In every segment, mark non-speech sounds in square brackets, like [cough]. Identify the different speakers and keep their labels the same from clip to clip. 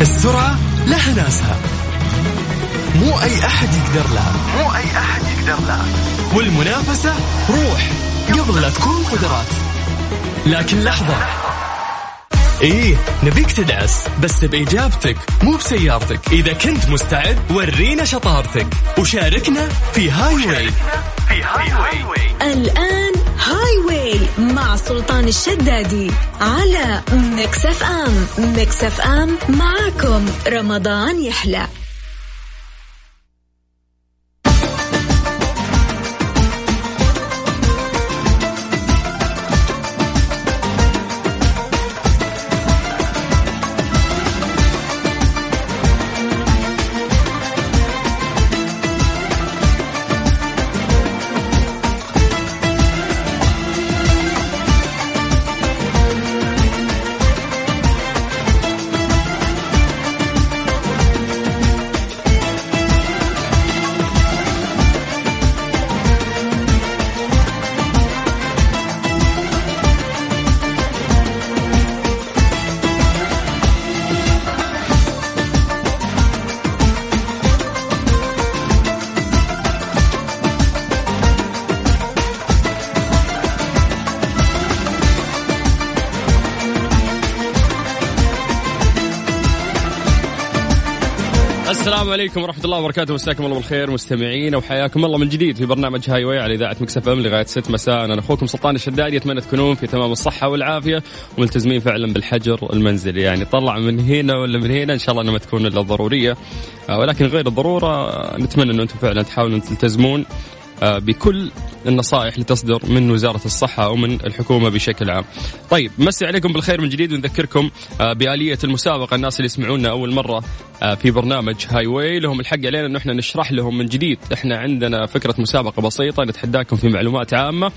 Speaker 1: السرعة لها ناسها مو أي أحد يقدر لها
Speaker 2: مو أي أحد يقدر لها
Speaker 1: والمنافسة روح قبل لا تكون قدرات لكن لحظة إيه نبيك تدعس بس بإجابتك مو بسيارتك إذا كنت مستعد ورينا شطارتك وشاركنا في هاي واي
Speaker 2: في هاي واي
Speaker 3: الآن هاي واي مع سلطان الشدادي على ميكس اف ام ميكس اف ام معاكم رمضان يحلى
Speaker 4: السلام عليكم ورحمة الله وبركاته مساكم الله بالخير مستمعين وحياكم الله من جديد في برنامج هاي واي على إذاعة مكسف أم لغاية 6 مساء أنا أخوكم سلطان الشدادي أتمنى تكونون في تمام الصحة والعافية وملتزمين فعلا بالحجر المنزلي يعني طلع من هنا ولا من هنا إن شاء الله أنها ما تكون إلا ضرورية آه، ولكن غير الضرورة آه، نتمنى أن أنتم فعلا تحاولون تلتزمون آه، بكل النصائح اللي تصدر من وزارة الصحة أو من الحكومة بشكل عام طيب مسي عليكم بالخير من جديد ونذكركم آه، بآلية المسابقة الناس اللي يسمعونا أول مرة آه، في برنامج هاي واي لهم الحق علينا أنه احنا نشرح لهم من جديد احنا عندنا فكرة مسابقة بسيطة نتحداكم في معلومات عامة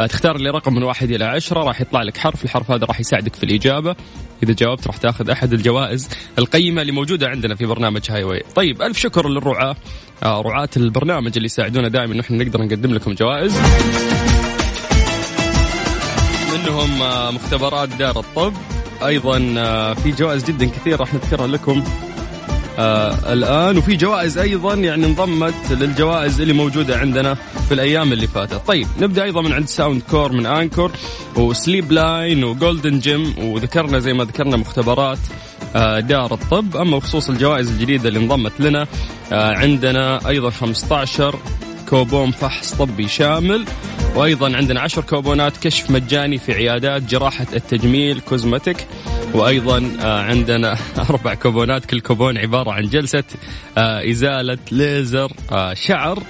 Speaker 4: آه، تختار لي رقم من واحد إلى عشرة راح يطلع لك حرف الحرف هذا راح يساعدك في الإجابة إذا جاوبت راح تاخذ أحد الجوائز القيمة اللي موجودة عندنا في برنامج هاي واي طيب ألف شكر للرعاة آه، رعاة البرنامج اللي يساعدونا دائما نحن نقدر نقدم لكم جوائز منهم آه، مختبرات دار الطب ايضا آه، في جوائز جدا كثير راح نذكرها لكم آه الان وفي جوائز ايضا يعني انضمت للجوائز اللي موجوده عندنا في الايام اللي فاتت طيب نبدا ايضا من عند ساوند كور من انكور وسليب لاين وجولدن جيم وذكرنا زي ما ذكرنا مختبرات آه دار الطب اما بخصوص الجوائز الجديده اللي انضمت لنا آه عندنا ايضا 15 كوبون فحص طبي شامل وايضا عندنا 10 كوبونات كشف مجاني في عيادات جراحه التجميل كوزمتك وايضا آه، عندنا [laughs] اربع كوبونات كل كوبون عباره عن جلسه آه، ازاله ليزر آه، شعر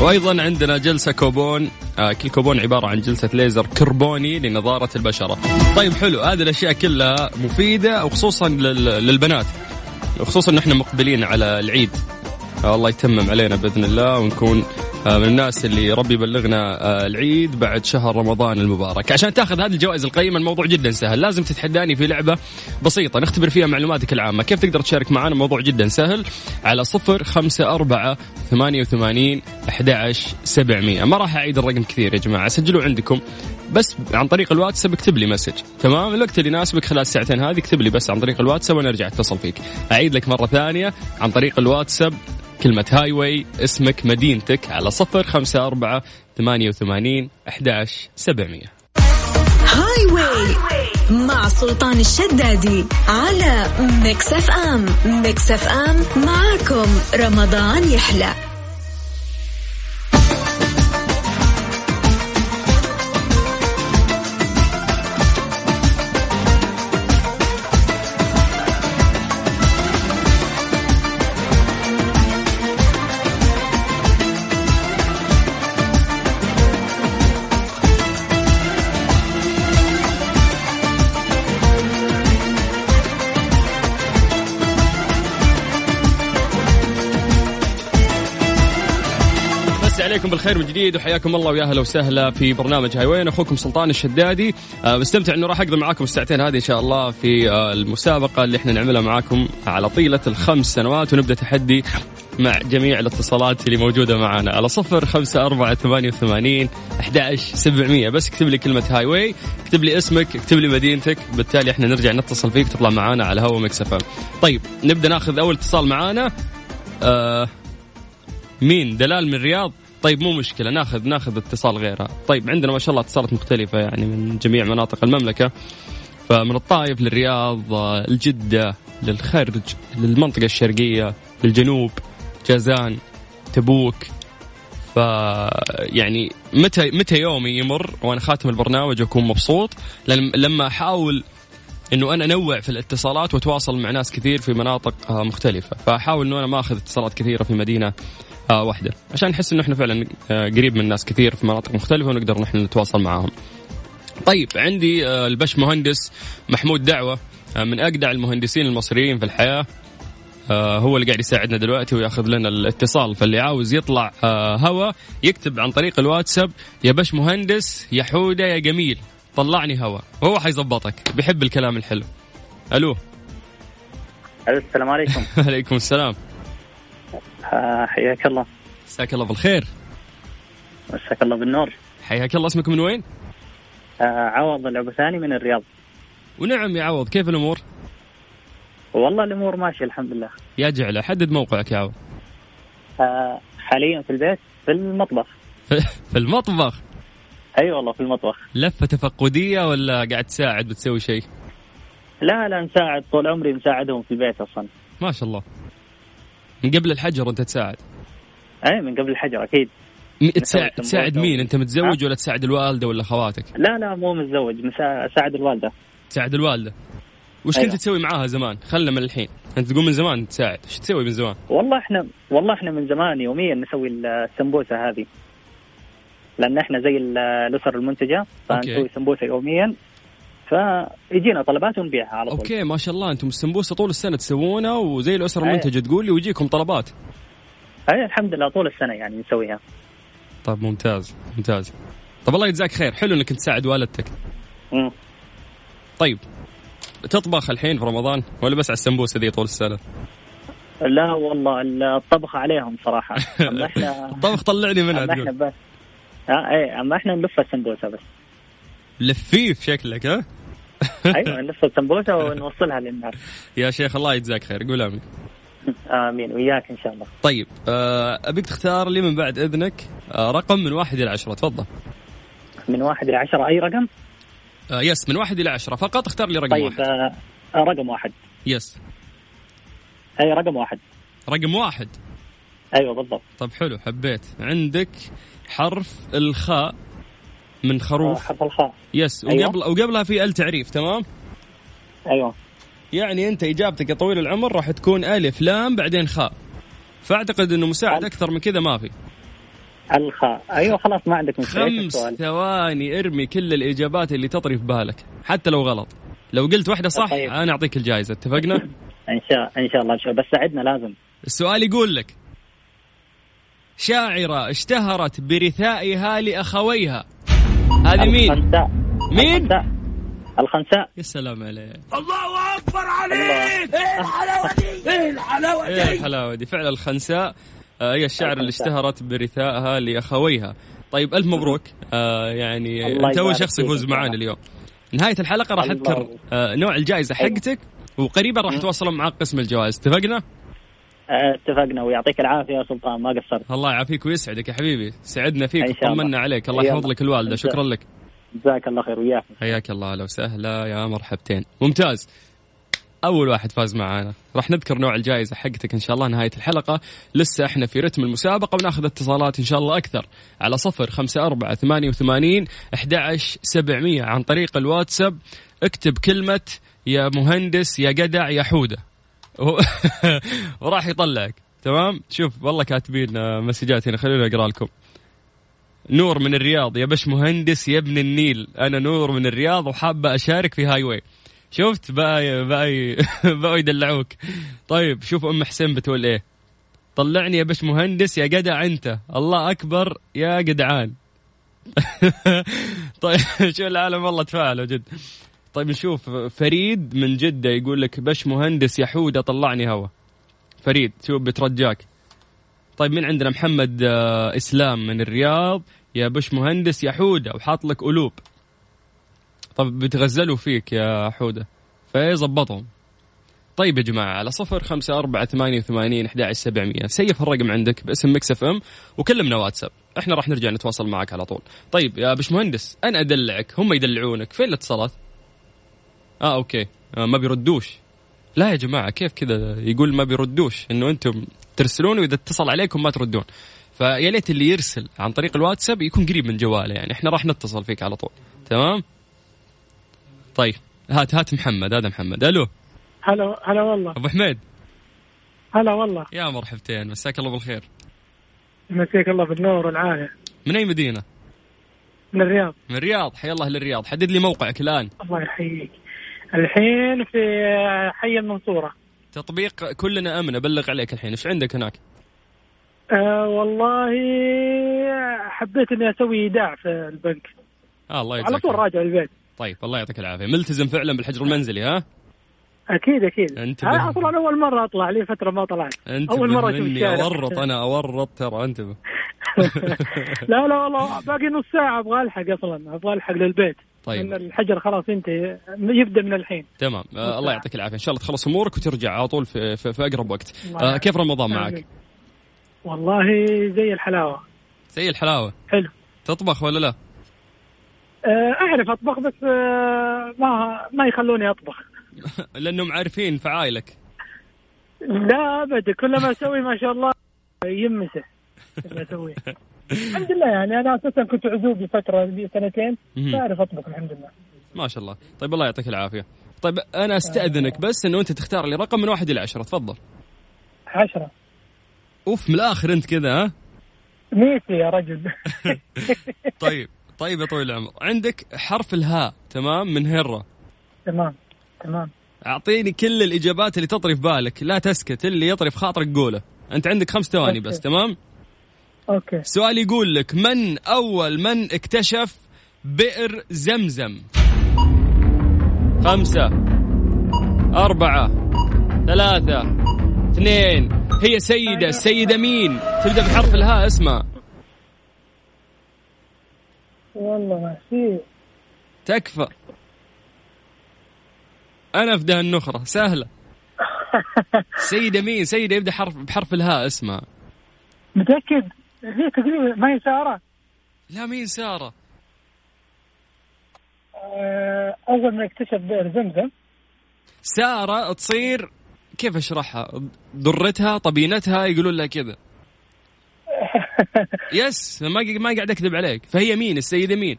Speaker 4: وايضا عندنا جلسه كوبون آه، كل كوبون عباره عن جلسه ليزر كربوني لنضاره البشره. طيب حلو هذه الاشياء كلها مفيده وخصوصا لل- للبنات خصوصا نحن مقبلين على العيد آه، الله يتمم علينا باذن الله ونكون آه، من الناس اللي ربي يبلغنا آه، العيد بعد شهر رمضان المبارك عشان تاخذ هذه الجوائز القيمه الموضوع جدا سهل لازم تتحداني في لعبه بسيطه نختبر فيها معلوماتك العامه كيف تقدر تشارك معنا موضوع جدا سهل على صفر خمسة أربعة ثمانية وثمانين أحد سبعمية ما راح أعيد الرقم كثير يا جماعة سجلوا عندكم بس عن طريق الواتساب اكتب لي مسج تمام الوقت اللي يناسبك خلال الساعتين هذه اكتب لي بس عن طريق الواتساب وانا ارجع اتصل فيك اعيد لك مره ثانيه عن طريق الواتساب كلمة هاي واي اسمك مدينتك على صفر خمسة أربعة ثمانية وثمانين أحداش سبعمية
Speaker 3: هاي واي مع سلطان الشدادي على ميكس اف ام ميكس اف ام معاكم رمضان يحلى
Speaker 4: بس عليكم بالخير من جديد وحياكم الله ويا اهلا وسهلا في برنامج هاي وين اخوكم سلطان الشدادي آه، مستمتع انه راح اقضي معاكم الساعتين هذه ان شاء الله في آه، المسابقه اللي احنا نعملها معاكم على طيله الخمس سنوات ونبدا تحدي مع جميع الاتصالات اللي موجودة معنا على صفر خمسة أربعة ثمانية وثمانين أحداش سبعمية بس اكتب لي كلمة هاي واي اكتب لي اسمك اكتب لي مدينتك بالتالي احنا نرجع نتصل فيك تطلع معنا على هوا مكسفة طيب نبدأ ناخذ أول اتصال معنا آه مين دلال من الرياض طيب مو مشكلة ناخذ ناخذ اتصال غيرها طيب عندنا ما شاء الله اتصالات مختلفة يعني من جميع مناطق المملكة فمن الطائف للرياض آه، الجدة للخرج للمنطقة الشرقية للجنوب جازان تبوك ف يعني متى متى يومي يمر وانا خاتم البرنامج اكون مبسوط لأن لما احاول انه انا انوع في الاتصالات واتواصل مع ناس كثير في مناطق آه، مختلفه فاحاول انه انا ما اخذ اتصالات كثيره في مدينه آه، واحده عشان نحس انه احنا فعلا آه، قريب من ناس كثير في مناطق مختلفه ونقدر نحن نتواصل معاهم طيب عندي آه، البش مهندس محمود دعوه آه، من اجدع المهندسين المصريين في الحياه آه، هو اللي قاعد يساعدنا دلوقتي وياخذ لنا الاتصال فاللي عاوز يطلع آه، هوا يكتب عن طريق الواتساب يا باش مهندس يا حوده يا جميل طلعني هوا وهو حيظبطك بيحب الكلام الحلو الو
Speaker 5: السلام عليكم
Speaker 4: [laughs] عليكم السلام
Speaker 5: [laughs] آه، حياك الله
Speaker 4: مساك الله بالخير
Speaker 5: مساك الله بالنور
Speaker 4: حياك الله اسمك من وين
Speaker 5: آه، عوض العبثاني من الرياض
Speaker 4: ونعم يا عوض كيف الامور
Speaker 5: والله الامور ماشيه الحمد لله
Speaker 4: يا جعله حدد موقعك يا عوض
Speaker 5: آه، حاليا في البيت في المطبخ
Speaker 4: في المطبخ
Speaker 5: اي والله في المطبخ
Speaker 4: لفه تفقديه ولا قاعد تساعد بتسوي شيء
Speaker 5: لا لا مساعد طول عمري مساعدهم في البيت اصلا
Speaker 4: ما شاء الله من قبل الحجر انت تساعد
Speaker 5: اي من قبل الحجر اكيد
Speaker 4: م- تساعد,
Speaker 5: سمبوسة
Speaker 4: تساعد
Speaker 5: و-
Speaker 4: مين انت متزوج ولا تساعد الوالده ولا خواتك
Speaker 5: لا لا مو متزوج مسا- اساعد الوالده
Speaker 4: تساعد الوالده وش
Speaker 5: أيوة.
Speaker 4: كنت تسوي معاها زمان خلنا من الحين انت تقول من زمان تساعد وش تسوي من زمان
Speaker 5: والله احنا والله احنا من زمان يوميا نسوي السمبوسه هذه لان احنا زي ال- الاسر المنتجه فنسوي
Speaker 4: أوكي.
Speaker 5: سمبوسه يوميا فيجينا طلبات ونبيعها على طول
Speaker 4: اوكي ما شاء الله انتم السمبوسه طول السنه تسوونها وزي الاسره
Speaker 5: أيوة.
Speaker 4: المنتجه تقول لي ويجيكم طلبات
Speaker 5: اي الحمد لله طول السنه يعني نسويها
Speaker 4: طب طيب، ممتاز ممتاز طب الله يجزاك خير حلو انك تساعد والدتك
Speaker 5: مم.
Speaker 4: طيب تطبخ الحين في رمضان ولا بس على السمبوسه ذي طول السنه
Speaker 5: لا والله الطبخ عليهم
Speaker 4: [laughs]
Speaker 5: صراحه اما احنا
Speaker 4: الطبخ طلعني منها
Speaker 5: اما احنا
Speaker 4: تقول
Speaker 5: بس آه ايه اما احنا نلف السمبوسه
Speaker 4: [laughs]
Speaker 5: بس
Speaker 4: لفيف شكلك ها
Speaker 5: ايوه نلف السمبوسه ونوصلها [laughs] للناس
Speaker 4: يا شيخ الله يجزاك خير قول امين
Speaker 5: امين وياك ان شاء الله
Speaker 4: طيب آه، ابيك تختار لي من بعد اذنك آه، رقم من واحد الى عشره تفضل
Speaker 5: من واحد الى عشره اي رقم
Speaker 4: آه، يس من واحد الى عشره فقط اختار لي رقم
Speaker 5: طيب
Speaker 4: واحد
Speaker 5: آه آه، رقم واحد
Speaker 4: يس
Speaker 5: اي رقم واحد
Speaker 4: رقم واحد
Speaker 5: ايوه بالضبط
Speaker 4: طب حلو حبيت عندك حرف الخاء من
Speaker 5: آه،
Speaker 4: خروف
Speaker 5: حرف الخاء
Speaker 4: يس
Speaker 5: أيوة.
Speaker 4: وقبل وقبلها في ال تعريف تمام
Speaker 5: ايوه
Speaker 4: يعني انت اجابتك يا طويل العمر راح تكون الف لام بعدين خاء فاعتقد انه مساعد
Speaker 5: ألف.
Speaker 4: اكثر من كذا ما في
Speaker 5: الخاء ايوه خلاص ما عندك مشكله إيش
Speaker 4: خمس
Speaker 5: السؤال
Speaker 4: ثواني ارمي كل الاجابات اللي تطري في بالك حتى لو غلط لو قلت واحده صح
Speaker 5: طيب.
Speaker 4: انا اعطيك الجائزه اتفقنا
Speaker 5: ان شاء ان شاء الله ان شاء الله بس ساعدنا لازم
Speaker 4: السؤال يقول لك شاعره اشتهرت برثائها لاخويها هذه مين
Speaker 5: الخنساء
Speaker 4: مين؟
Speaker 5: الخنساء الخنساء
Speaker 4: يا سلام عليك
Speaker 5: الله. إيه،
Speaker 4: ايه الحلاوه دي فعلا الخنساء آه، هي الشعر اللي
Speaker 5: الخنساء.
Speaker 4: اشتهرت برثائها لاخويها طيب الف مبروك آه يعني
Speaker 5: الله
Speaker 4: انت اول
Speaker 5: يبارك
Speaker 4: شخص
Speaker 5: فيك
Speaker 4: يفوز
Speaker 5: إن شاء
Speaker 4: معانا
Speaker 5: الله.
Speaker 4: اليوم نهايه الحلقه راح
Speaker 5: الله
Speaker 4: اذكر
Speaker 5: يبارك.
Speaker 4: آه نوع الجائزه
Speaker 5: أيوة.
Speaker 4: حقتك وقريبا راح يتواصلوا معك قسم الجوائز اتفقنا
Speaker 5: آه، اتفقنا ويعطيك العافيه يا سلطان ما قصرت
Speaker 4: الله يعافيك ويسعدك يا حبيبي سعدنا
Speaker 5: إن
Speaker 4: فيك
Speaker 5: شاء الله.
Speaker 4: طمنا عليك الله
Speaker 5: يلا.
Speaker 4: يحفظ لك الوالده
Speaker 5: إن شاء-
Speaker 4: شكرا لك
Speaker 5: جزاك الله خير وياك
Speaker 4: حياك الله لو سهلا يا مرحبتين ممتاز اول واحد فاز معانا راح نذكر نوع الجائزه حقتك ان شاء الله نهايه الحلقه لسه احنا في رتم المسابقه وناخذ اتصالات ان شاء الله اكثر على صفر خمسة أربعة ثمانية وثمانين أحداش سبعمية عن طريق الواتساب اكتب كلمة يا مهندس يا جدع يا حودة [laughs] و- وراح يطلعك تمام شوف والله كاتبين آه، مسجات هنا خليني اقرا لكم نور من الرياض يا بش مهندس يا ابن النيل انا نور من الرياض وحابه اشارك في هاي واي شفت بقى بقى [laughs] بقى يدلعوك طيب شوف ام حسين بتقول ايه طلعني يا بش مهندس يا جدع انت الله اكبر يا جدعان [laughs] طيب [laughs] شو العالم والله تفاعلوا جد طيب نشوف فريد من جده يقول لك بش مهندس يا حوده طلعني هوا فريد شوف بترجاك طيب مين عندنا محمد آه، اسلام من الرياض يا بش مهندس يا حوده وحاط لك قلوب طب بتغزلوا فيك يا حوده فيظبطهم طيب يا جماعة على صفر خمسة أربعة ثمانية وثمانين أحد عشر سبعمية سيف الرقم عندك باسم مكس اف ام وكلمنا واتساب احنا راح نرجع نتواصل معك على طول طيب يا بشمهندس أنا أدلعك هم يدلعونك فين الاتصالات آه أوكي آه ما بيردوش لا يا جماعة كيف كذا يقول ما بيردوش إنه أنتم ترسلون وإذا اتصل عليكم ما تردون فيا ليت اللي يرسل عن طريق الواتساب يكون قريب من جواله يعني احنا راح نتصل فيك على طول تمام طيب هات هات محمد هذا محمد الو
Speaker 6: هلا هلا والله
Speaker 4: ابو حميد
Speaker 6: هلا والله
Speaker 4: يا مرحبتين مساك الله بالخير
Speaker 6: مسيك الله بالنور والعافيه
Speaker 4: من اي مدينه
Speaker 6: من الرياض
Speaker 4: من الرياض حيا الله للرياض حدد لي موقعك الان
Speaker 6: الله يحييك الحين في حي المنصوره
Speaker 4: تطبيق كلنا امن ابلغ عليك الحين ايش عندك هناك
Speaker 6: أه والله حبيت اني اسوي ايداع في البنك
Speaker 4: آه الله
Speaker 6: على
Speaker 4: يجزاك
Speaker 6: طول
Speaker 4: خير.
Speaker 6: راجع البيت
Speaker 4: طيب الله يعطيك العافيه ملتزم فعلا بالحجر المنزلي ها
Speaker 6: اكيد اكيد
Speaker 4: انتبه.
Speaker 6: أنا اصلا اول مره اطلع لي فتره ما
Speaker 4: [laughs]
Speaker 6: طلعت [laughs]
Speaker 4: انت
Speaker 6: اول مره اشوف
Speaker 4: مني
Speaker 6: الشارع.
Speaker 4: اورط انا اورط ترى انتبه
Speaker 6: لا لا والله باقي نص ساعه ابغى الحق اصلا ابغى الحق للبيت ان
Speaker 4: طيب
Speaker 6: الحجر خلاص ينتهي يبدا من الحين
Speaker 4: تمام آه الله يعطيك العافيه ان شاء الله تخلص امورك وترجع على طول في, في, في اقرب وقت
Speaker 6: الله
Speaker 4: آه
Speaker 6: يعافيك.
Speaker 4: كيف رمضان معك
Speaker 6: آمين. والله زي الحلاوه
Speaker 4: زي الحلاوه
Speaker 6: حلو
Speaker 4: تطبخ ولا لا
Speaker 6: آه، اعرف اطبخ بس آه، ما ما يخلوني اطبخ
Speaker 4: لانهم عارفين في عائلك
Speaker 6: لا ابد كل ما اسوي ما شاء الله يمسه اللي اسويه الحمد لله يعني انا اساسا كنت عزوب لفتره لي سنتين
Speaker 4: مهم.
Speaker 6: فاعرف اطبخ الحمد لله
Speaker 4: ما شاء الله طيب الله يعطيك العافيه طيب انا استاذنك بس انه انت تختار لي رقم من واحد الى عشره تفضل
Speaker 6: عشرة
Speaker 4: اوف من الاخر انت كذا
Speaker 6: [laughs]
Speaker 4: ها
Speaker 6: ميسي يا رجل
Speaker 4: طيب طيب يا طويل العمر عندك حرف الهاء تمام من هره
Speaker 6: تمام تمام
Speaker 4: اعطيني كل الاجابات اللي تطري في بالك لا تسكت اللي يطري في خاطرك قوله انت عندك خمس ثواني بس تمام
Speaker 6: اوكي
Speaker 4: سؤال يقول لك من اول من اكتشف بئر زمزم خمسة أربعة ثلاثة اثنين هي سيدة السيدة مين تبدأ بحرف الهاء اسمها
Speaker 6: والله ما في
Speaker 4: تكفى أنا في ده النخرة سهلة سيدة مين سيدة يبدأ حرف بحرف الهاء اسمها
Speaker 6: متاكد هي تقريبا ما هي ساره
Speaker 4: لا مين سارة
Speaker 6: آه، اول ما اكتشف بئر زمزم
Speaker 4: سارة تصير كيف اشرحها ضرتها طبينتها يقولون لها كذا يس ما قا- ما قاعد اكذب عليك فهي مين السيده مين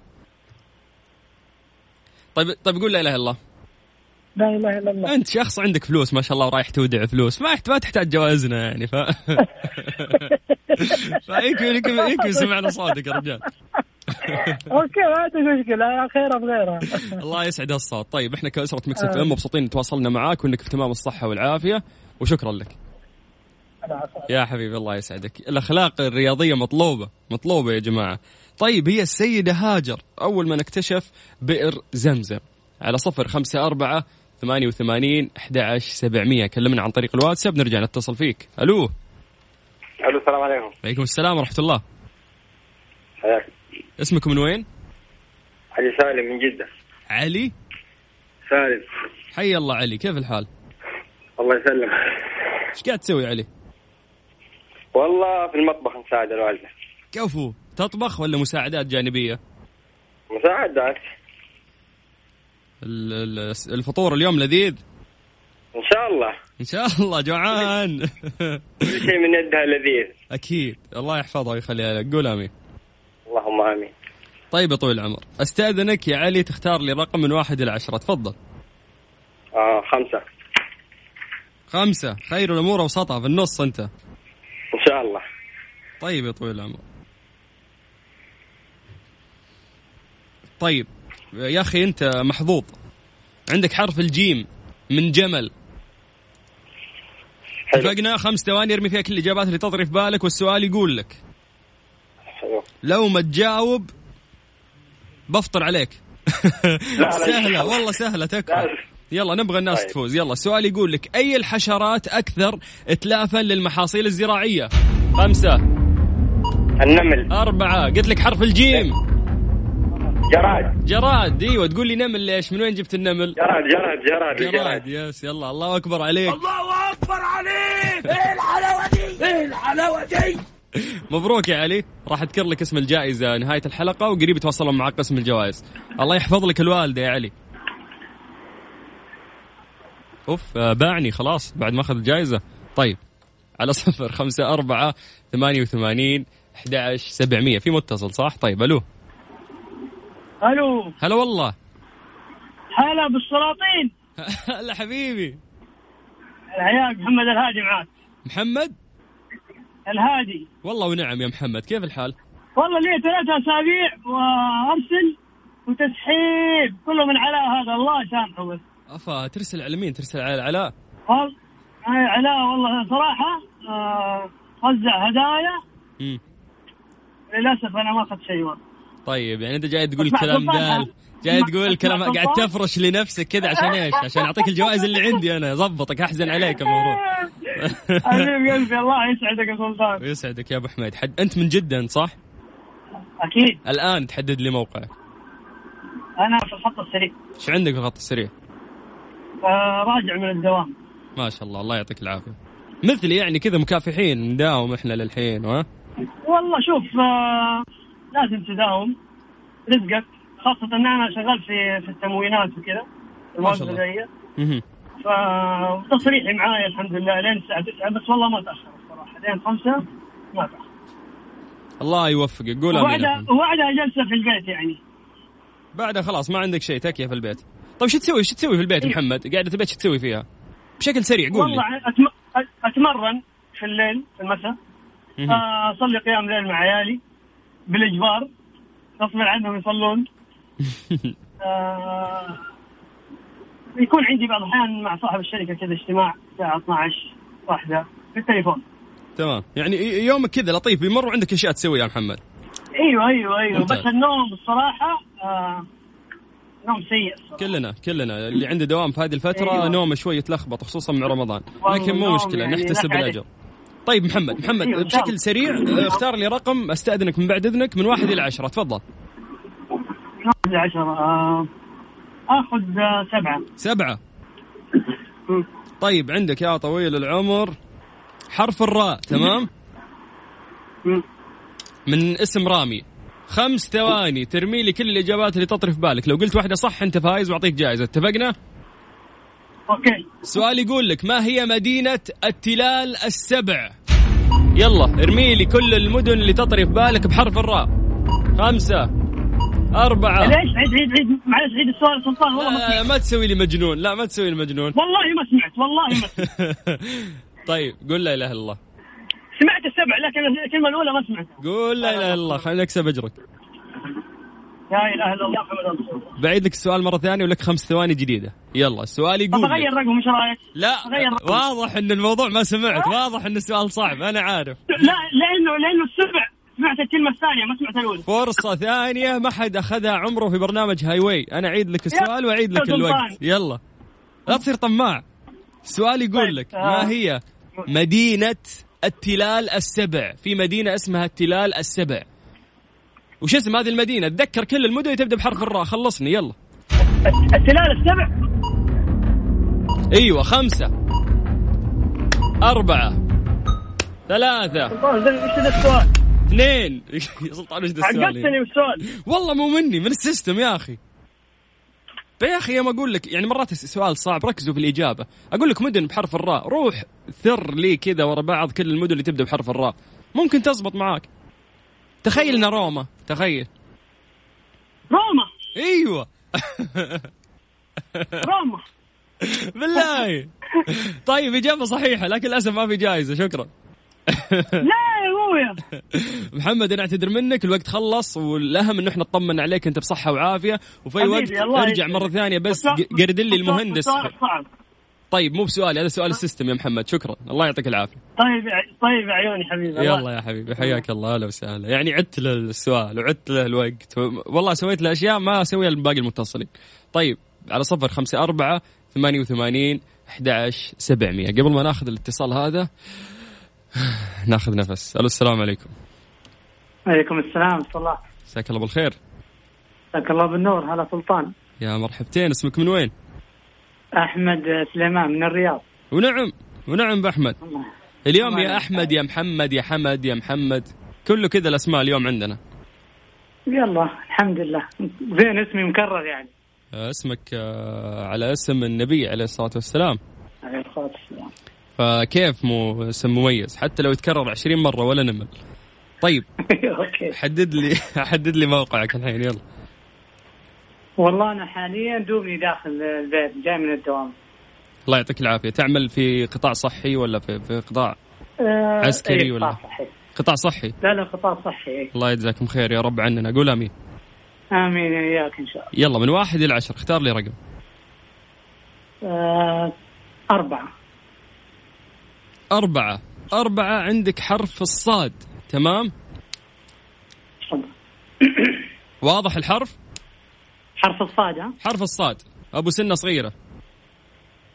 Speaker 4: طيب طيب قول لا اله الا الله
Speaker 6: لا اله
Speaker 4: [laughs]
Speaker 6: الا الله
Speaker 4: انت شخص عندك فلوس ما شاء الله ورايح تودع فلوس ما يحت- ما تحتاج جوائزنا يعني ف فيكفي يكفي يكفي سمعنا صوتك يا رجال
Speaker 6: اوكي ما عندي مشكله خيرها بغيرها
Speaker 4: الله يسعد هالصوت طيب احنا كاسره مكسف ام مبسوطين تواصلنا معاك وانك في تمام الصحه والعافيه وشكرا لك يا حبيبي الله يسعدك الاخلاق الرياضيه مطلوبه مطلوبه يا جماعه طيب هي السيده هاجر اول من اكتشف بئر زمزم على صفر خمسة أربعة ثمانية وثمانين أحد عشر سبعمية كلمنا عن طريق الواتساب نرجع نتصل فيك ألو
Speaker 7: الو السلام عليكم
Speaker 4: عليكم السلام ورحمة الله
Speaker 7: حياك
Speaker 4: اسمك من وين
Speaker 7: علي سالم من جدة
Speaker 4: علي
Speaker 7: سالم
Speaker 4: حي الله علي كيف الحال
Speaker 7: الله يسلم
Speaker 4: ايش قاعد تسوي علي
Speaker 7: والله في المطبخ نساعد الوالدة
Speaker 4: كفو تطبخ ولا مساعدات جانبية
Speaker 7: مساعدات
Speaker 4: ال- ال- الفطور اليوم لذيذ
Speaker 7: ان شاء الله
Speaker 4: إن شاء الله جوعان [laughs]
Speaker 7: كل شيء من يدها لذيذ
Speaker 4: أكيد الله يحفظها ويخليها لك قول آمين
Speaker 7: اللهم امين
Speaker 4: طيب يا طويل العمر استاذنك يا علي تختار لي رقم من واحد الى عشره تفضل
Speaker 7: آه خمسة
Speaker 4: خمسه خير الامور اوسطها في النص انت
Speaker 7: ان شاء الله
Speaker 4: طيب يا طويل العمر طيب يا اخي انت محظوظ عندك حرف الجيم من جمل
Speaker 7: حلو
Speaker 4: اتفقنا خمس ثواني ارمي فيها كل الاجابات اللي تطري في بالك والسؤال يقول لك
Speaker 7: حلو
Speaker 4: لو ما تجاوب بفطر عليك
Speaker 7: لا.
Speaker 4: سهلة والله سهلة تكفى
Speaker 7: لا.
Speaker 4: يلا نبغى الناس
Speaker 7: طيب.
Speaker 4: تفوز يلا السؤال يقول لك أي الحشرات أكثر إتلافا للمحاصيل الزراعية خمسة
Speaker 7: النمل
Speaker 4: أربعة قلت لك حرف
Speaker 7: طيب.
Speaker 4: الجيم
Speaker 7: جراد
Speaker 4: جراد ايوه تقول لي نمل ليش من وين جبت النمل
Speaker 7: جراد جراد جراد
Speaker 4: جراد يس يلا الله أكبر عليك
Speaker 8: الله اكبر عليك ايه الحلاوه دي ايه الحلاوه دي
Speaker 4: مبروك يا علي راح اذكر لك اسم الجائزة نهاية الحلقة وقريب يتواصلون مع قسم الجوائز الله يحفظ لك الوالدة يا علي اوف آه، باعني خلاص بعد ما اخذ الجائزة طيب على [laughs] صفر خمسة أربعة ثمانية وثمانين أحد عشر سبعمية في متصل صح طيب ألو
Speaker 6: الو
Speaker 4: هلا والله [laughs]
Speaker 6: هلا بالسلاطين
Speaker 4: هلا حبيبي
Speaker 6: الحياك محمد الهادي معاك
Speaker 4: محمد
Speaker 6: الهادي
Speaker 4: والله ونعم يا محمد كيف الحال
Speaker 6: والله لي ثلاثة اسابيع وارسل وتسحيب كله من علاء هذا الله يسامحه بس
Speaker 4: أفا ترسل على مين ترسل على العلاء
Speaker 6: وال- آه، علاء والله صراحة آه، وزع هدايا
Speaker 4: مم.
Speaker 6: للاسف انا ما اخذت شيء [laughs] والله
Speaker 4: طيب يعني انت جاي تقول
Speaker 6: اسمع
Speaker 4: كلام
Speaker 6: سلطان،
Speaker 4: دال جاي
Speaker 6: اسمع-
Speaker 4: تقول
Speaker 6: اسمع
Speaker 4: كلام قاعد
Speaker 6: سلطان.
Speaker 4: تفرش لنفسك كذا عشان ايش؟ عشان اعطيك الجوائز اللي عندي انا ظبطك احزن عليك الموضوع
Speaker 6: حبيب قلبي الله يسعدك يا سلطان
Speaker 4: ويسعدك يا ابو حميد حد انت من جدا صح؟
Speaker 6: اكيد
Speaker 4: الان تحدد لي موقعك
Speaker 6: انا في الخط السريع
Speaker 4: ايش عندك في الخط السريع؟
Speaker 6: آه، راجع من الدوام
Speaker 4: ما شاء الله الله يعطيك العافيه مثلي يعني كذا مكافحين نداوم احنا للحين ها؟
Speaker 6: والله شوف آه، لازم تداوم رزقك خاصة ان انا شغال في في التموينات وكذا
Speaker 4: ما
Speaker 6: المواد
Speaker 4: شاء الله.
Speaker 6: الغذائية
Speaker 4: مهم.
Speaker 6: فتصريحي معايا الحمد لله لين الساعة 9 بس والله ما تأخر الصراحة لين 5 ما تأخر
Speaker 4: الله يوفقك قول امين يا
Speaker 6: وبعدها
Speaker 4: أحمد.
Speaker 6: وبعدها جلسة في البيت يعني
Speaker 4: بعدها خلاص ما عندك شيء تكيه في البيت طيب شو تسوي شو تسوي في البيت محمد؟ قاعده البيت شو تسوي فيها؟ بشكل سريع قول
Speaker 6: إيه. والله
Speaker 4: لي
Speaker 6: أتم... اتمرن في الليل في المساء
Speaker 4: مهم.
Speaker 6: آه، اصلي قيام ليل مع عيالي بالاجبار غصب عنهم
Speaker 4: [laughs]
Speaker 6: يصلون آه، يكون عندي بعض الاحيان مع صاحب الشركه كذا اجتماع الساعه 12 واحدة في التليفون
Speaker 4: تمام يعني ي- يومك كذا لطيف بيمر وعندك اشياء تسويها يا محمد
Speaker 6: ايوه ايوه ايوه
Speaker 4: ممتاز.
Speaker 6: بس النوم الصراحه آه، نوم سيء الصراحة.
Speaker 4: كلنا كلنا اللي عنده دوام في هذه الفتره أيوة.
Speaker 6: أيوه.
Speaker 4: نومه شوي يتلخبط خصوصا مع رمضان
Speaker 6: والله
Speaker 4: لكن مو
Speaker 6: نوم
Speaker 4: مشكله
Speaker 6: يعني
Speaker 4: نحتسب
Speaker 6: لا حاجة.
Speaker 4: الاجر طيب محمد محمد
Speaker 6: أيوه، إن شاء
Speaker 4: بشكل
Speaker 6: الله.
Speaker 4: سريع آه، اختار لي رقم استاذنك من بعد اذنك من واحد الى عشره تفضل
Speaker 6: واحد عشرة آه، اخذ آه، سبعة
Speaker 4: سبعه
Speaker 6: مم.
Speaker 4: طيب عندك يا طويل العمر حرف الراء تمام
Speaker 6: مم.
Speaker 4: من اسم رامي خمس ثواني ترمي لي كل الاجابات اللي تطري في بالك لو قلت واحده صح انت فايز واعطيك جائزه اتفقنا
Speaker 6: اوكي
Speaker 4: سؤال يقول لك ما هي مدينة التلال السبع؟ يلا ارمي لي كل المدن اللي تطري في بالك بحرف الراء. خمسة أربعة
Speaker 6: ليش عيد عيد عيد معلش عيد السؤال سلطان والله ما
Speaker 4: لا
Speaker 6: سمعت
Speaker 4: ما تسوي لي مجنون لا ما تسوي لي مجنون
Speaker 6: والله ما سمعت والله ما سمعت
Speaker 4: [laughs] طيب قول لا إله إلا الله
Speaker 6: سمعت السبع لكن الكلمه الاولى ما سمعتها
Speaker 4: قول لا إله إلا الله خلينا نكسب أجرك
Speaker 6: لا اله الا الله محمد رسول الله
Speaker 4: بعيد لك السؤال مرة ثانية ولك خمس ثواني جديدة يلا السؤال
Speaker 6: طب
Speaker 4: يقول
Speaker 6: اغير
Speaker 4: لك
Speaker 6: رقم ايش رايك؟
Speaker 4: لا
Speaker 6: أغير رقم.
Speaker 4: واضح ان الموضوع ما سمعت واضح ان السؤال صعب انا عارف
Speaker 6: لا لانه لانه السبع سمعت الكلمه الثانيه ما سمعت الاولى
Speaker 4: فرصة ثانية ما حد أخذها عمره في برنامج هاي واي أنا أعيد لك السؤال وأعيد لك
Speaker 6: يا
Speaker 4: الوقت
Speaker 6: سلطان.
Speaker 4: يلا لا تصير طماع السؤال يقول
Speaker 6: طيب،
Speaker 4: لك
Speaker 6: آه.
Speaker 4: ما هي مدينة التلال السبع في مدينة اسمها التلال السبع وش اسم هذه المدينة تذكر كل المدن تبدأ بحرف الراء خلصني يلا
Speaker 6: التلال السبع
Speaker 4: أيوة خمسة أربعة ثلاثة
Speaker 6: والله طيب، زين، ايش ذا السؤال؟
Speaker 4: اثنين [laughs] يا سلطان وش ذا السؤال هنا؟
Speaker 6: عقدتني بالسؤال
Speaker 4: والله مو مني من السيستم يا اخي يا اخي يا ما اقول لك يعني مرات السؤال صعب ركزوا في الاجابه اقول لك مدن بحرف الراء روح ثر لي كذا ورا بعض كل المدن اللي تبدا بحرف الراء ممكن تزبط معاك تخيل إن روما تخيل
Speaker 6: روما
Speaker 4: ايوه
Speaker 6: روما
Speaker 4: بالله
Speaker 6: [laughs]
Speaker 4: طيب اجابه صحيحه لكن للاسف ما في جائزه شكرا
Speaker 6: لا يا ابويا
Speaker 4: محمد انا اعتذر منك الوقت خلص والاهم انه احنا نطمن عليك انت بصحه وعافيه وفي أي وقت
Speaker 6: حبيبي، الله
Speaker 4: ارجع
Speaker 6: يسعدك.
Speaker 4: مره ثانيه بس
Speaker 6: السؤال-
Speaker 4: قردل لي
Speaker 6: السؤال-
Speaker 4: المهندس
Speaker 6: السؤال صعب
Speaker 4: طيب مو بسؤالي هذا سؤال السيستم يا محمد شكرا الله يعطيك العافيه
Speaker 6: طيب يا- طيب يا عيوني حبيبي
Speaker 4: يلا يا حبيبي حياك الله اهلا وسهلا يعني عدت له السؤال وعدت له الوقت والله سويت له اشياء ما اسويها لباقي المتصلين طيب على صفر خمسة أربعة ثمانية وثمانين أحد عشر سبعمية قبل ما ناخذ الاتصال هذا ناخذ نفس الو السلام عليكم
Speaker 6: عليكم السلام ورحمه الله
Speaker 4: مساك الله بالخير
Speaker 6: مساك الله بالنور هلا سلطان
Speaker 4: يا مرحبتين اسمك من وين
Speaker 6: احمد سليمان من الرياض
Speaker 4: ونعم ونعم باحمد اليوم
Speaker 6: الله
Speaker 4: يا احمد يا محمد يا حمد يا محمد كله كذا الاسماء اليوم عندنا
Speaker 6: يلا الحمد لله زين اسمي مكرر يعني
Speaker 4: آه، اسمك آه، على اسم النبي عليه الصلاه والسلام
Speaker 6: عليه الصلاه والسلام [laughs]
Speaker 4: فكيف مو اسم مميز حتى لو يتكرر 20 مره ولا نمل طيب
Speaker 6: اوكي
Speaker 4: حدد لي [laughs] حدد لي موقعك الحين يلا
Speaker 6: والله انا حاليا دوبني داخل البيت جاي من الدوام
Speaker 4: الله يعطيك العافيه تعمل في قطاع صحي ولا في, في قطاع
Speaker 6: آه،
Speaker 4: عسكري
Speaker 6: إيه،
Speaker 4: ولا؟
Speaker 6: قطاع صحي.
Speaker 4: قطاع صحي
Speaker 6: لا لا قطاع صحي إيه.
Speaker 4: الله يجزاكم خير يا رب عننا قول امين
Speaker 6: امين اياك ان شاء الله
Speaker 4: يلا من واحد الى عشر اختار لي رقم
Speaker 6: آه، اربعه
Speaker 4: أربعة أربعة عندك حرف الصاد تمام
Speaker 6: تفضل.
Speaker 4: واضح الحرف
Speaker 6: حرف الصاد ها
Speaker 4: حرف الصاد أبو سنة صغيرة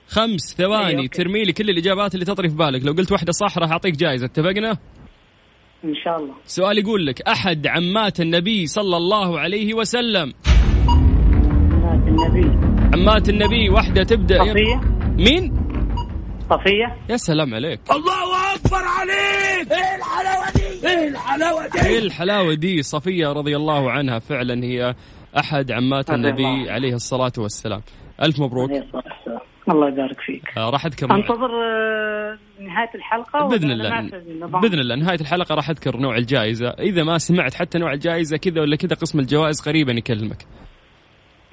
Speaker 4: خمس ثواني
Speaker 6: أيوة،
Speaker 4: أيوة.
Speaker 6: أوكي.
Speaker 4: ترمي لي كل الإجابات اللي تطري في بالك لو قلت واحدة صح راح أعطيك جائزة اتفقنا
Speaker 6: ان شاء الله
Speaker 4: سؤال يقول لك أحد عمات النبي صلى الله عليه وسلم
Speaker 6: صلاة النبي
Speaker 4: عمات النبي واحدة تبدأ
Speaker 6: صفيه
Speaker 4: مين
Speaker 6: صفيه
Speaker 4: يا سلام عليك
Speaker 8: الله اكبر عليك
Speaker 6: إيه
Speaker 8: ايه الحلاوه دي ايه الحلاوه دي
Speaker 4: ايه الحلاوه دي صفيه رضي الله عنها فعلا هي احد عمات
Speaker 6: رضي
Speaker 4: النبي
Speaker 6: الله.
Speaker 4: عليه الصلاه والسلام الف مبروك
Speaker 6: عليه الصلاة والسلام. الله يبارك فيك
Speaker 4: آه، راح اذكر
Speaker 6: انتظر آه، نهايه الحلقه
Speaker 4: باذن
Speaker 6: ولا
Speaker 4: الله
Speaker 6: أنا ما أعرف النظام؟
Speaker 4: باذن الله نهايه الحلقه راح اذكر نوع الجائزه اذا ما سمعت حتى نوع الجائزه كذا ولا كذا قسم الجوائز قريبا يكلمك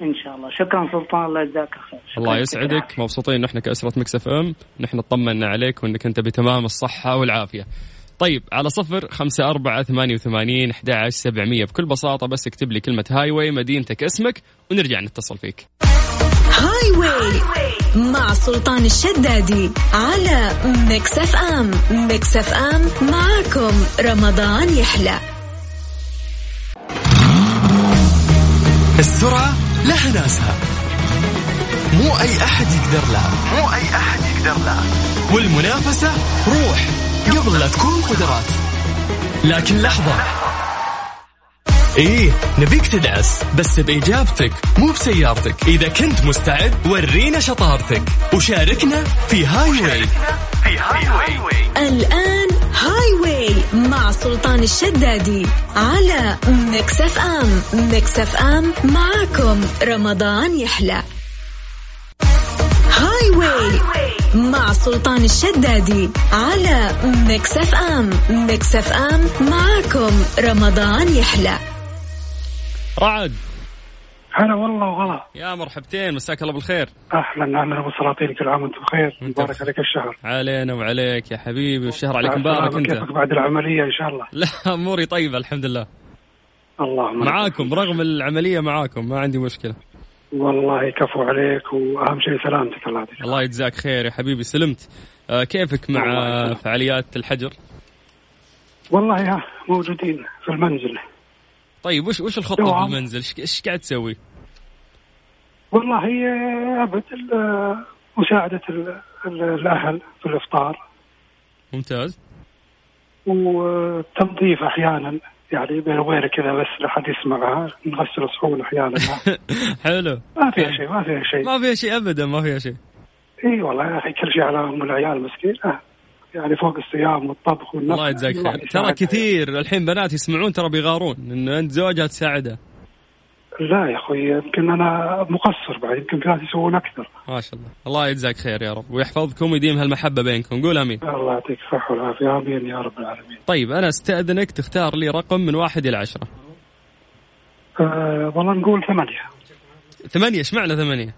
Speaker 6: ان شاء الله شكرا سلطان الله يجزاك خير شكراً
Speaker 4: الله
Speaker 6: لك.
Speaker 4: يسعدك مبسوطين ان احنا كاسره مكسف ام نحن اطمنا عليك وانك انت بتمام الصحه والعافيه طيب على صفر خمسة أربعة ثمانية وثمانين أحد عشر سبعمية بكل بساطة بس اكتب لي كلمة هاي واي مدينتك اسمك ونرجع نتصل فيك
Speaker 3: هاي واي مع سلطان الشدادي على ميكس اف ام ميكس اف ام معاكم رمضان يحلى
Speaker 1: السرعة لها ناسها مو أي أحد يقدر لها
Speaker 2: مو أي أحد يقدر له
Speaker 1: والمنافسة روح قبل لا تكون قدرات لكن لحظة إيه نبيك تدعس بس بإجابتك مو بسيارتك إذا كنت مستعد ورينا شطارتك وشاركنا في هاي واي
Speaker 2: في هاي واي
Speaker 3: الآن هاي واي مع سلطان الشدادي على ميكس اف ام ميكس اف ام معاكم رمضان يحلى هاي واي مع سلطان الشدادي على ميكس اف ام ميكس اف ام معاكم رمضان يحلى
Speaker 4: رعد
Speaker 9: هلا والله وغلا
Speaker 4: يا مرحبتين مساك الله بالخير
Speaker 9: اهلا اهلا ابو سلاطين كل عام وانتم بخير
Speaker 4: وأنت
Speaker 9: مبارك
Speaker 4: بخير.
Speaker 9: عليك الشهر
Speaker 4: علينا وعليك يا حبيبي والشهر عليك مبارك
Speaker 9: كيفك
Speaker 4: انت
Speaker 9: بعد العمليه ان شاء الله
Speaker 4: لا اموري طيبه الحمد لله
Speaker 9: اللهم لك
Speaker 4: معاكم رغم العمليه معاكم ما عندي مشكله
Speaker 9: والله كفو عليك واهم شيء سلامتك الله يعطيك
Speaker 4: الله يجزاك خير يا حبيبي سلمت آه، كيفك مع
Speaker 9: الله
Speaker 4: آه،
Speaker 9: يسلمك.
Speaker 4: فعاليات الحجر
Speaker 9: والله يا موجودين في المنزل
Speaker 4: طيب وش وش الخطه في
Speaker 9: نعم.
Speaker 4: المنزل إيش- ايش قاعد تسوي
Speaker 9: والله هي ابد ال- مساعده ال- ال- الاهل في الافطار
Speaker 4: ممتاز [laughs]
Speaker 9: والتنظيف احيانا يعني بين وبين كذا بس لا حد يسمعها نغسل الصحون احيانا
Speaker 4: حلو
Speaker 9: ما فيها شيء ما فيها شيء
Speaker 4: ما فيها شيء ابدا ما فيها شيء
Speaker 9: اي والله يا اخي كل شيء على ام العيال مسكينه يعني فوق الصيام والطبخ والنفس
Speaker 4: الله يجزاك خير ترى
Speaker 9: يساعدها.
Speaker 4: كثير الحين بنات يسمعون ترى بيغارون ان انت زوجها تساعدها
Speaker 9: لا يا اخوي يمكن انا مقصر بعد يمكن في ناس يسوون اكثر
Speaker 4: ما شاء الله الله يجزاك خير يا رب ويحفظكم ويديم هالمحبه بينكم قول امين
Speaker 9: الله يعطيك الصحه والعافيه امين يا رب العالمين
Speaker 4: طيب انا استاذنك تختار لي رقم من واحد الى عشره
Speaker 9: أه والله نقول ثمانيه
Speaker 4: ثمانيه ايش معنى ثمانيه؟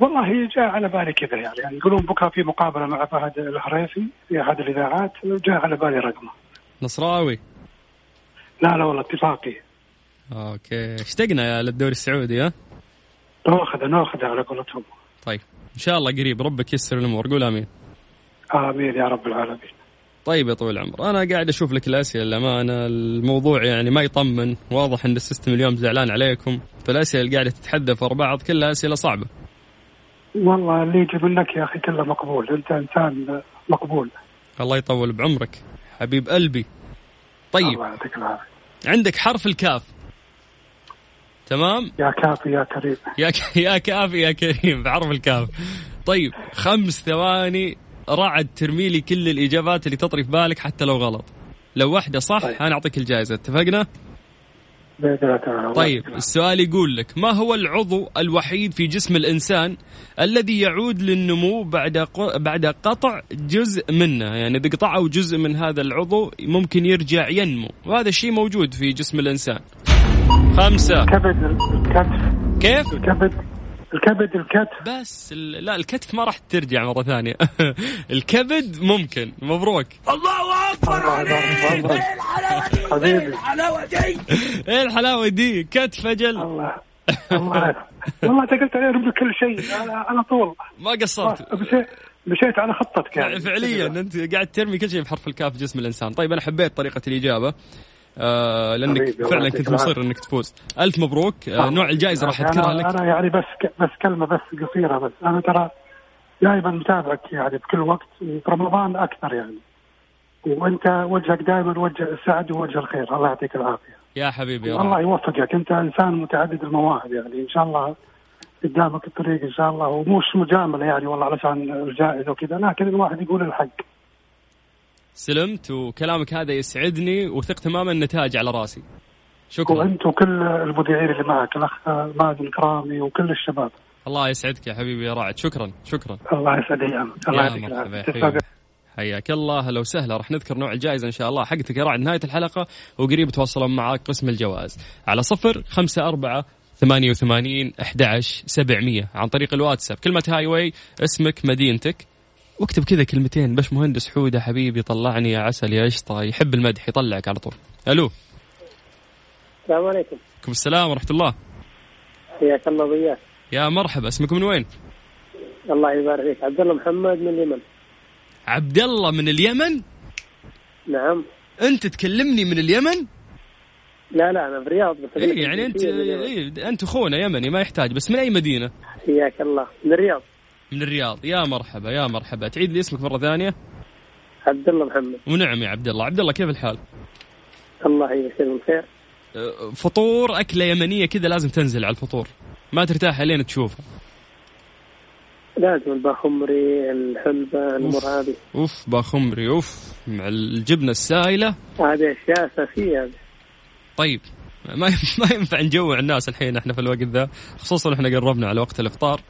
Speaker 9: والله جاء على بالي كذا يعني, يعني يقولون بكره في مقابله مع فهد الحريفي في احد الاذاعات جاء على بالي رقمه
Speaker 4: نصراوي
Speaker 9: لا لا والله اتفاقي
Speaker 4: اوكي اشتقنا يا للدوري السعودي ها؟
Speaker 9: ناخذه ناخذه على قولتهم
Speaker 4: طيب ان شاء الله قريب ربك يسر الامور قول امين
Speaker 9: امين يا رب العالمين
Speaker 4: طيب يا طويل العمر انا قاعد اشوف لك الاسئله الامانه الموضوع يعني ما يطمن واضح ان السيستم اليوم زعلان عليكم فالاسئله اللي قاعده تتحدث ورا بعض كلها اسئله صعبه
Speaker 9: والله اللي يجي منك يا اخي كله مقبول انت انسان مقبول
Speaker 4: الله يطول بعمرك حبيب قلبي طيب
Speaker 9: الله يعطيك العافيه
Speaker 4: عندك حرف الكاف تمام
Speaker 9: يا كافي يا كريم
Speaker 4: يا ك... [laughs] يا كاف يا كريم بحرف الكاف طيب خمس ثواني رعد ترمي لي كل الاجابات اللي تطري في بالك حتى لو غلط لو واحده صح
Speaker 9: طيب.
Speaker 4: انا اعطيك الجائزه اتفقنا
Speaker 9: باذن الله تعالى الله
Speaker 4: طيب
Speaker 9: يعطيك العافية.
Speaker 4: السؤال يقول لك ما هو العضو الوحيد في جسم الانسان الذي يعود للنمو بعد ق... بعد قطع جزء منه يعني اذا قطعوا جزء من هذا العضو ممكن يرجع ينمو وهذا الشيء موجود في جسم الانسان خمسة
Speaker 9: الكبد الكتف
Speaker 4: كيف
Speaker 9: الكبد الكبد الكتف
Speaker 4: بس ال- لا الكتف ما راح ترجع مره ثانيه [laughs] الكبد ممكن مبروك
Speaker 8: الله اكبر عليك ايه الحلاوه دي ايه
Speaker 9: حبيبي.
Speaker 8: الحلاوه دي
Speaker 4: ايه الحلاوه دي كتف اجل
Speaker 9: الله الله يعافيك. والله انت قلت علي رمي كل شيء على على طول
Speaker 4: ما قصرت
Speaker 9: مشيت مشيت على خطتك يعني
Speaker 4: فعليا انت قاعد ترمي كل شيء بحرف الكاف في جسم الانسان طيب انا حبيت طريقه الاجابه آه لانك
Speaker 9: حبيبي، الله
Speaker 4: فعلا
Speaker 9: يعطيك
Speaker 4: كنت مصر
Speaker 9: العافية.
Speaker 4: انك تفوز الف مبروك آه نوع الجائزه راح
Speaker 9: يعني
Speaker 4: اذكرها
Speaker 9: أنا-
Speaker 4: لك
Speaker 9: انا يعني بس ك- بس كلمه بس قصيره بس انا ترى دائما متابعك يعني بكل وقت في رمضان اكثر يعني وانت وجهك دائما وجه السعد ووجه الخير الله يعطيك العافيه
Speaker 4: يا حبيبي يا
Speaker 9: الله
Speaker 4: رب
Speaker 9: يوفقك انت انسان متعدد المواهب يعني ان شاء الله قدامك الطريق ان شاء الله ومش مجامله يعني والله علشان الجائزه وكذا لكن الواحد يقول الحق
Speaker 4: سلمت وكلامك هذا يسعدني وثق تماما النتائج على راسي شكرا
Speaker 9: وانت وكل المذيعين اللي معك الاخ مازن كرامي وكل الشباب
Speaker 4: الله يسعدك يا حبيبي يا رعد شكرا شكرا
Speaker 9: الله يسعد ايامك الله
Speaker 4: يا
Speaker 9: يعطيك
Speaker 4: مرحبا
Speaker 9: العافيه
Speaker 4: يا
Speaker 9: تسلم.
Speaker 4: حبيبي. حياك الله هلا وسهلا راح نذكر نوع الجائزة إن شاء الله حقتك يا رعد نهاية الحلقة وقريب تواصلون معاك قسم الجوائز على صفر خمسة أربعة ثمانية وثمانين أحداش سبعمية عن طريق الواتساب كلمة هاي واي اسمك مدينتك واكتب كذا كلمتين باش مهندس حودة حبيبي طلعني يا عسل يا قشطة يحب المدح يطلعك على طول ألو
Speaker 5: السلام عليكم
Speaker 4: عليكم السلام ورحمة الله
Speaker 5: حياك الله وياك
Speaker 4: يا مرحبا اسمك من وين
Speaker 5: الله يبارك فيك عبد الله محمد من اليمن
Speaker 4: عبد الله من اليمن
Speaker 5: نعم
Speaker 4: أنت تكلمني من اليمن
Speaker 5: لا لا انا في الرياض بس
Speaker 4: اي يعني انت إيه انت اخونا يمني ما يحتاج بس من اي مدينه؟
Speaker 5: حياك الله من الرياض
Speaker 4: من الرياض يا مرحبا يا مرحبا تعيد لي اسمك مره ثانيه
Speaker 5: عبد الله محمد
Speaker 4: ونعم يا عبد الله عبد الله كيف الحال؟
Speaker 5: الله يبشر بالخير
Speaker 4: أه، فطور اكله يمنيه كذا لازم تنزل على الفطور ما ترتاح الين تشوفها
Speaker 5: لازم الباخمري الحلبة الامور
Speaker 4: أوف.
Speaker 5: هذه
Speaker 4: اوف باخمري اوف مع الجبنه السائله
Speaker 5: هذه اشياء اساسية هذه.
Speaker 4: طيب ما [laughs] ما ينفع نجوع الناس الحين احنا في الوقت ذا خصوصا احنا قربنا على وقت الافطار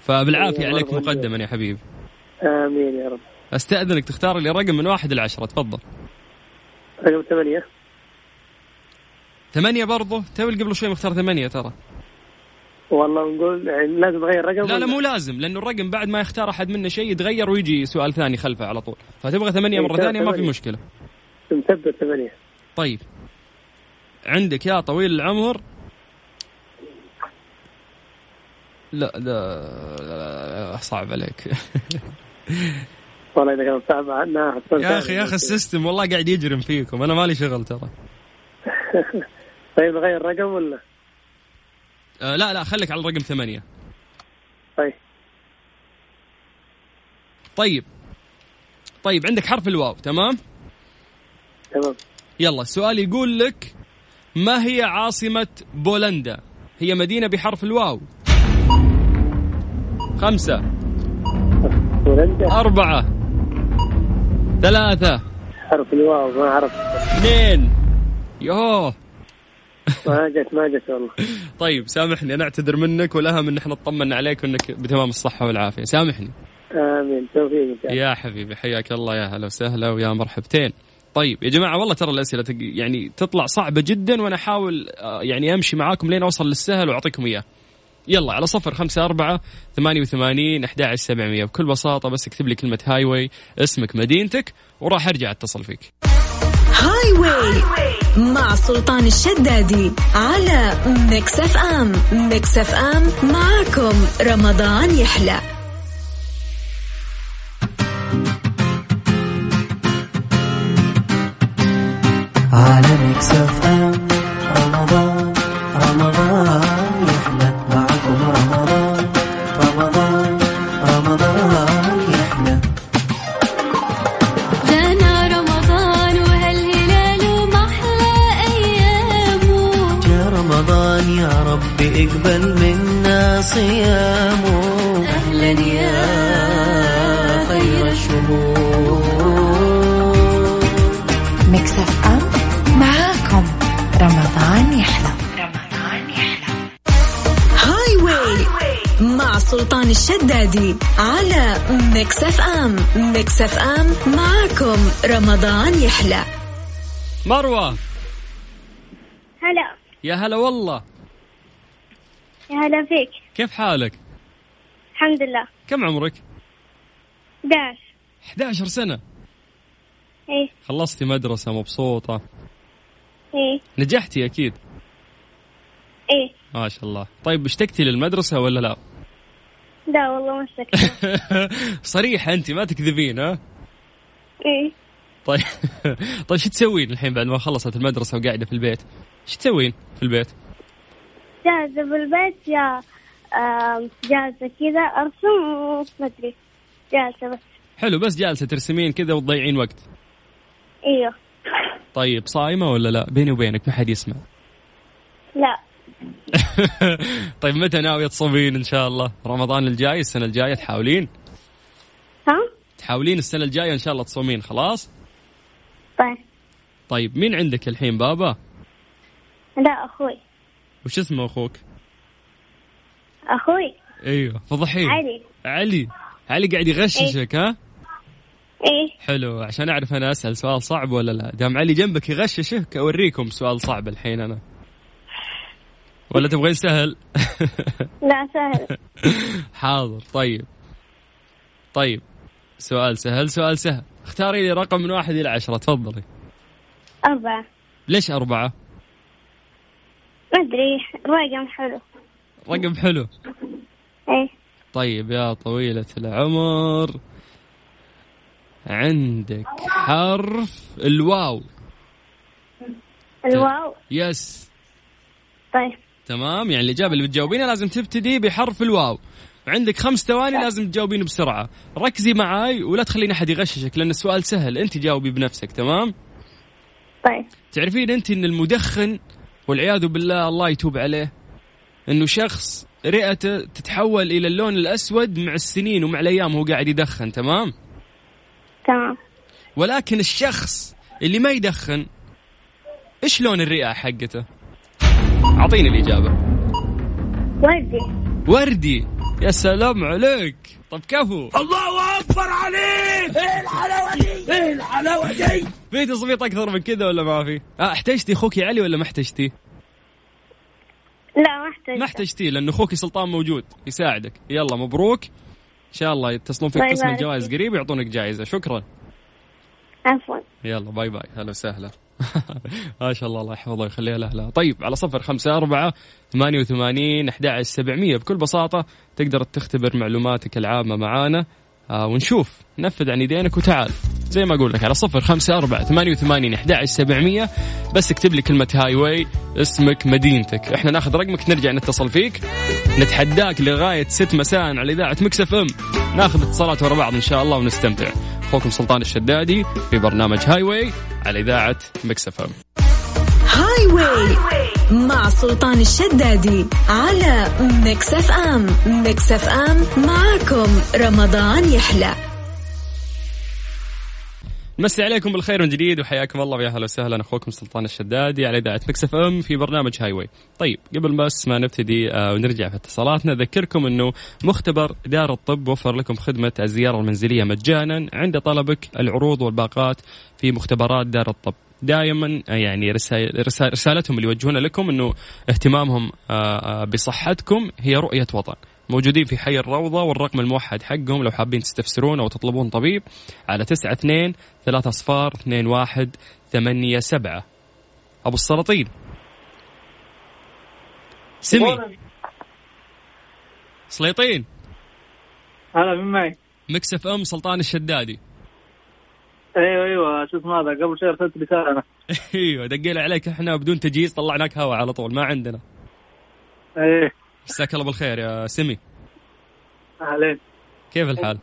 Speaker 4: فبالعافيه
Speaker 5: أيوة،
Speaker 4: عليك
Speaker 5: مرة
Speaker 4: مقدما يا حبيبي
Speaker 5: امين يا رب
Speaker 4: استاذنك تختار لي رقم من واحد لعشره تفضل
Speaker 5: رقم ثمانية
Speaker 4: ثمانية برضه توي قبل شوي مختار ثمانية ترى
Speaker 5: والله نقول يعني لازم اغير رقم
Speaker 4: لا لا مو لازم لانه الرقم بعد ما يختار احد منا شيء يتغير ويجي سؤال ثاني خلفه على طول فتبغى ثمانية مرة
Speaker 5: إيه،
Speaker 4: ثانية ما في
Speaker 5: ثمانية.
Speaker 4: مشكلة
Speaker 5: مثبت ثمانية
Speaker 4: طيب عندك يا طويل العمر لا لا, لا, لا صعب عليك
Speaker 5: والله اذا كان صعب عنها
Speaker 4: يا اخي يا اخي السيستم والله قاعد يجرم فيكم انا مالي شغل ترى
Speaker 5: طيب نغير رقم ولا؟
Speaker 4: آه لا لا خليك على الرقم ثمانية
Speaker 5: طيب
Speaker 4: طيب طيب عندك حرف الواو تمام
Speaker 5: تمام
Speaker 4: يلا السؤال يقول لك ما هي عاصمة بولندا؟ هي مدينة بحرف الواو. خمسة،
Speaker 5: بولندا
Speaker 4: أربعة، ثلاثة،
Speaker 5: حرف الواو ما عرفت
Speaker 4: اثنين. يوه
Speaker 5: ما جت ما جت والله
Speaker 4: طيب سامحني أنا أعتذر منك والأهم إن إحنا اطمنا عليك وإنك بتمام الصحة والعافية، سامحني.
Speaker 5: امين توفيق ان شاء الله
Speaker 4: يا حبيبي حياك الله يا هلا وسهلا ويا مرحبتين. طيب يا جماعة والله ترى الأسئلة تق- يعني تطلع صعبة جدا وأنا أحاول آه، يعني أمشي معاكم لين أوصل للسهل وأعطيكم إياه. يلا على صفر خمسة أربعة ثمانية وثمانين أحد عشر سبعمية بكل بساطة بس اكتب لي كلمة هاي واي اسمك مدينتك وراح أرجع أتصل فيك
Speaker 3: هاي واي مع سلطان الشدادي على ميكس اف ام ميكس اف ام معكم رمضان يحلى
Speaker 10: على ميكس اف ام رمضان رمضان يحلى معكم رمضان رمضان رمضان يحلى
Speaker 3: غير الشدادي على ميكس اف ام ميكس اف ام معكم رمضان يحلى
Speaker 4: مروه
Speaker 11: هلا
Speaker 4: يا هلا والله
Speaker 11: يا هلا فيك
Speaker 4: كيف حالك؟
Speaker 11: الحمد لله
Speaker 4: كم عمرك؟
Speaker 11: 11
Speaker 4: 11 سنه
Speaker 11: ايه
Speaker 4: خلصتي مدرسه مبسوطه
Speaker 11: ايه
Speaker 4: نجحتي اكيد
Speaker 11: ايه
Speaker 4: ما شاء الله طيب اشتقتي للمدرسه ولا لا؟
Speaker 11: لا والله ما اشتكيت
Speaker 4: صريحه انت ما تكذبين ها؟
Speaker 11: ايه
Speaker 4: طيب [laughs] طيب شو تسوين الحين بعد ما خلصت المدرسه وقاعده في البيت؟ شو تسوين في البيت؟
Speaker 11: جاهزة بالبيت يا آم، جاهزة كذا ارسم وما ادري جاهزة بس
Speaker 4: حلو بس جالسه ترسمين كذا وتضيعين وقت
Speaker 11: ايوه
Speaker 4: طيب صايمه ولا لا؟ بيني وبينك ما حد يسمع [laughs]
Speaker 11: لا
Speaker 4: طيب متى ناويه تصومين ان شاء الله؟ رمضان الجاي السنه الجايه تحاولين؟
Speaker 11: ها
Speaker 4: تحاولين السنه الجايه ان شاء الله تصومين خلاص؟
Speaker 11: طيب
Speaker 4: طيب مين عندك الحين بابا؟
Speaker 11: لا اخوي
Speaker 4: وش اسمه اخوك؟
Speaker 11: اخوي
Speaker 4: ايوه فضحيه
Speaker 11: علي
Speaker 4: علي علي قاعد يغششك ها؟
Speaker 11: ايه
Speaker 4: حلو عشان اعرف انا اسال سؤال صعب ولا لا دام علي جنبك يغششك اوريكم سؤال صعب الحين انا ولا تبغين سهل
Speaker 11: لا سهل
Speaker 4: [laughs] حاضر طيب طيب سؤال سهل سؤال سهل اختاري لي رقم من واحد الى عشرة تفضلي
Speaker 11: أربعة
Speaker 4: ليش أربعة
Speaker 11: ما أدري رقم حلو
Speaker 4: رقم حلو
Speaker 11: إيه
Speaker 4: طيب يا طويلة العمر عندك حرف الواو
Speaker 11: الواو
Speaker 4: يس
Speaker 11: طيب
Speaker 4: تمام يعني الإجابة اللي بتجاوبينها لازم تبتدي بحرف الواو عندك خمس ثواني لازم تجاوبين بسرعة ركزي معاي ولا تخلين أحد يغششك لأن السؤال سهل أنت جاوبي بنفسك تمام
Speaker 11: طيب
Speaker 4: تعرفين أنت أن المدخن والعياذ بالله الله يتوب عليه أنه شخص رئته تتحول إلى اللون الأسود مع السنين ومع الأيام وهو قاعد يدخن تمام
Speaker 11: تمام
Speaker 4: ولكن الشخص اللي ما يدخن ايش لون الرئه حقته؟ اعطيني الاجابه
Speaker 11: ودي
Speaker 4: وردي يا سلام عليك طب كفو
Speaker 8: الله اكبر عليك ايه الحلاوه دي ايه الحلاوه دي
Speaker 4: في تصويت اكثر من كذا ولا ما في؟ آه احتجتي اخوك علي ولا ما احتجتي؟
Speaker 11: لا ما احتاج
Speaker 4: ما احتجتي لان اخوك سلطان موجود يساعدك يلا مبروك ان شاء الله يتصلون فيك
Speaker 11: الله
Speaker 4: قسم
Speaker 11: يبارك
Speaker 4: الجوائز
Speaker 11: فيك.
Speaker 4: قريب يعطونك جائزه شكرا
Speaker 11: عفوا
Speaker 4: يلا باي باي هلا وسهلا [laughs] ما شاء الله الله يحفظه ويخليه لها طيب على صفر خمسة أربعة ثمانية وثمانين أحد عشر سبعمية بكل بساطة تقدر تختبر معلوماتك العامة معانا آه ونشوف نفذ عن يدينك وتعال زي ما أقول لك على صفر خمسة أربعة ثمانية وثمانين أحد عشر سبعمية بس اكتب لي كلمة هاي واي اسمك مدينتك احنا ناخذ رقمك نرجع نتصل فيك نتحداك لغاية ست مساء على إذاعة مكسف أم ناخذ اتصالات ورا بعض إن شاء الله ونستمتع أخوكم سلطان الشدادي في برنامج هاي واي على إذاعة مكسف أم
Speaker 3: هاي واي مع سلطان الشدادي على ميكس اف ام ميكس اف ام معكم رمضان يحلى
Speaker 4: مسي عليكم بالخير من جديد وحياكم الله ويا اهلا وسهلا اخوكم سلطان الشدادي على اذاعه مكس اف ام في برنامج هاي واي. طيب قبل بس ما نبتدي آه، ونرجع في اتصالاتنا اذكركم انه مختبر دار الطب وفر لكم خدمه الزياره المنزليه مجانا عند طلبك العروض والباقات في مختبرات دار الطب. دائما يعني رسائل رسا- رسالتهم اللي يوجهونها لكم انه اهتمامهم آه، آه، بصحتكم هي رؤيه وطن. موجودين في حي الروضة والرقم الموحد حقهم لو حابين تستفسرون أو تطلبون طبيب على تسعة اثنين ثلاثة أصفار اثنين واحد ثمانية سبعة أبو السلاطين سمي سليطين
Speaker 6: هلا من معي
Speaker 4: مكس اف ام سلطان الشدادي [laughs]
Speaker 6: ايوه ايوه شوف ماذا قبل شوي ارسلت رساله انا
Speaker 4: ايوه دقينا عليك احنا بدون تجهيز طلعناك هوا على طول ما عندنا
Speaker 6: ايه
Speaker 4: مساك الله بالخير يا سمي
Speaker 6: اهلين
Speaker 4: كيف الحال؟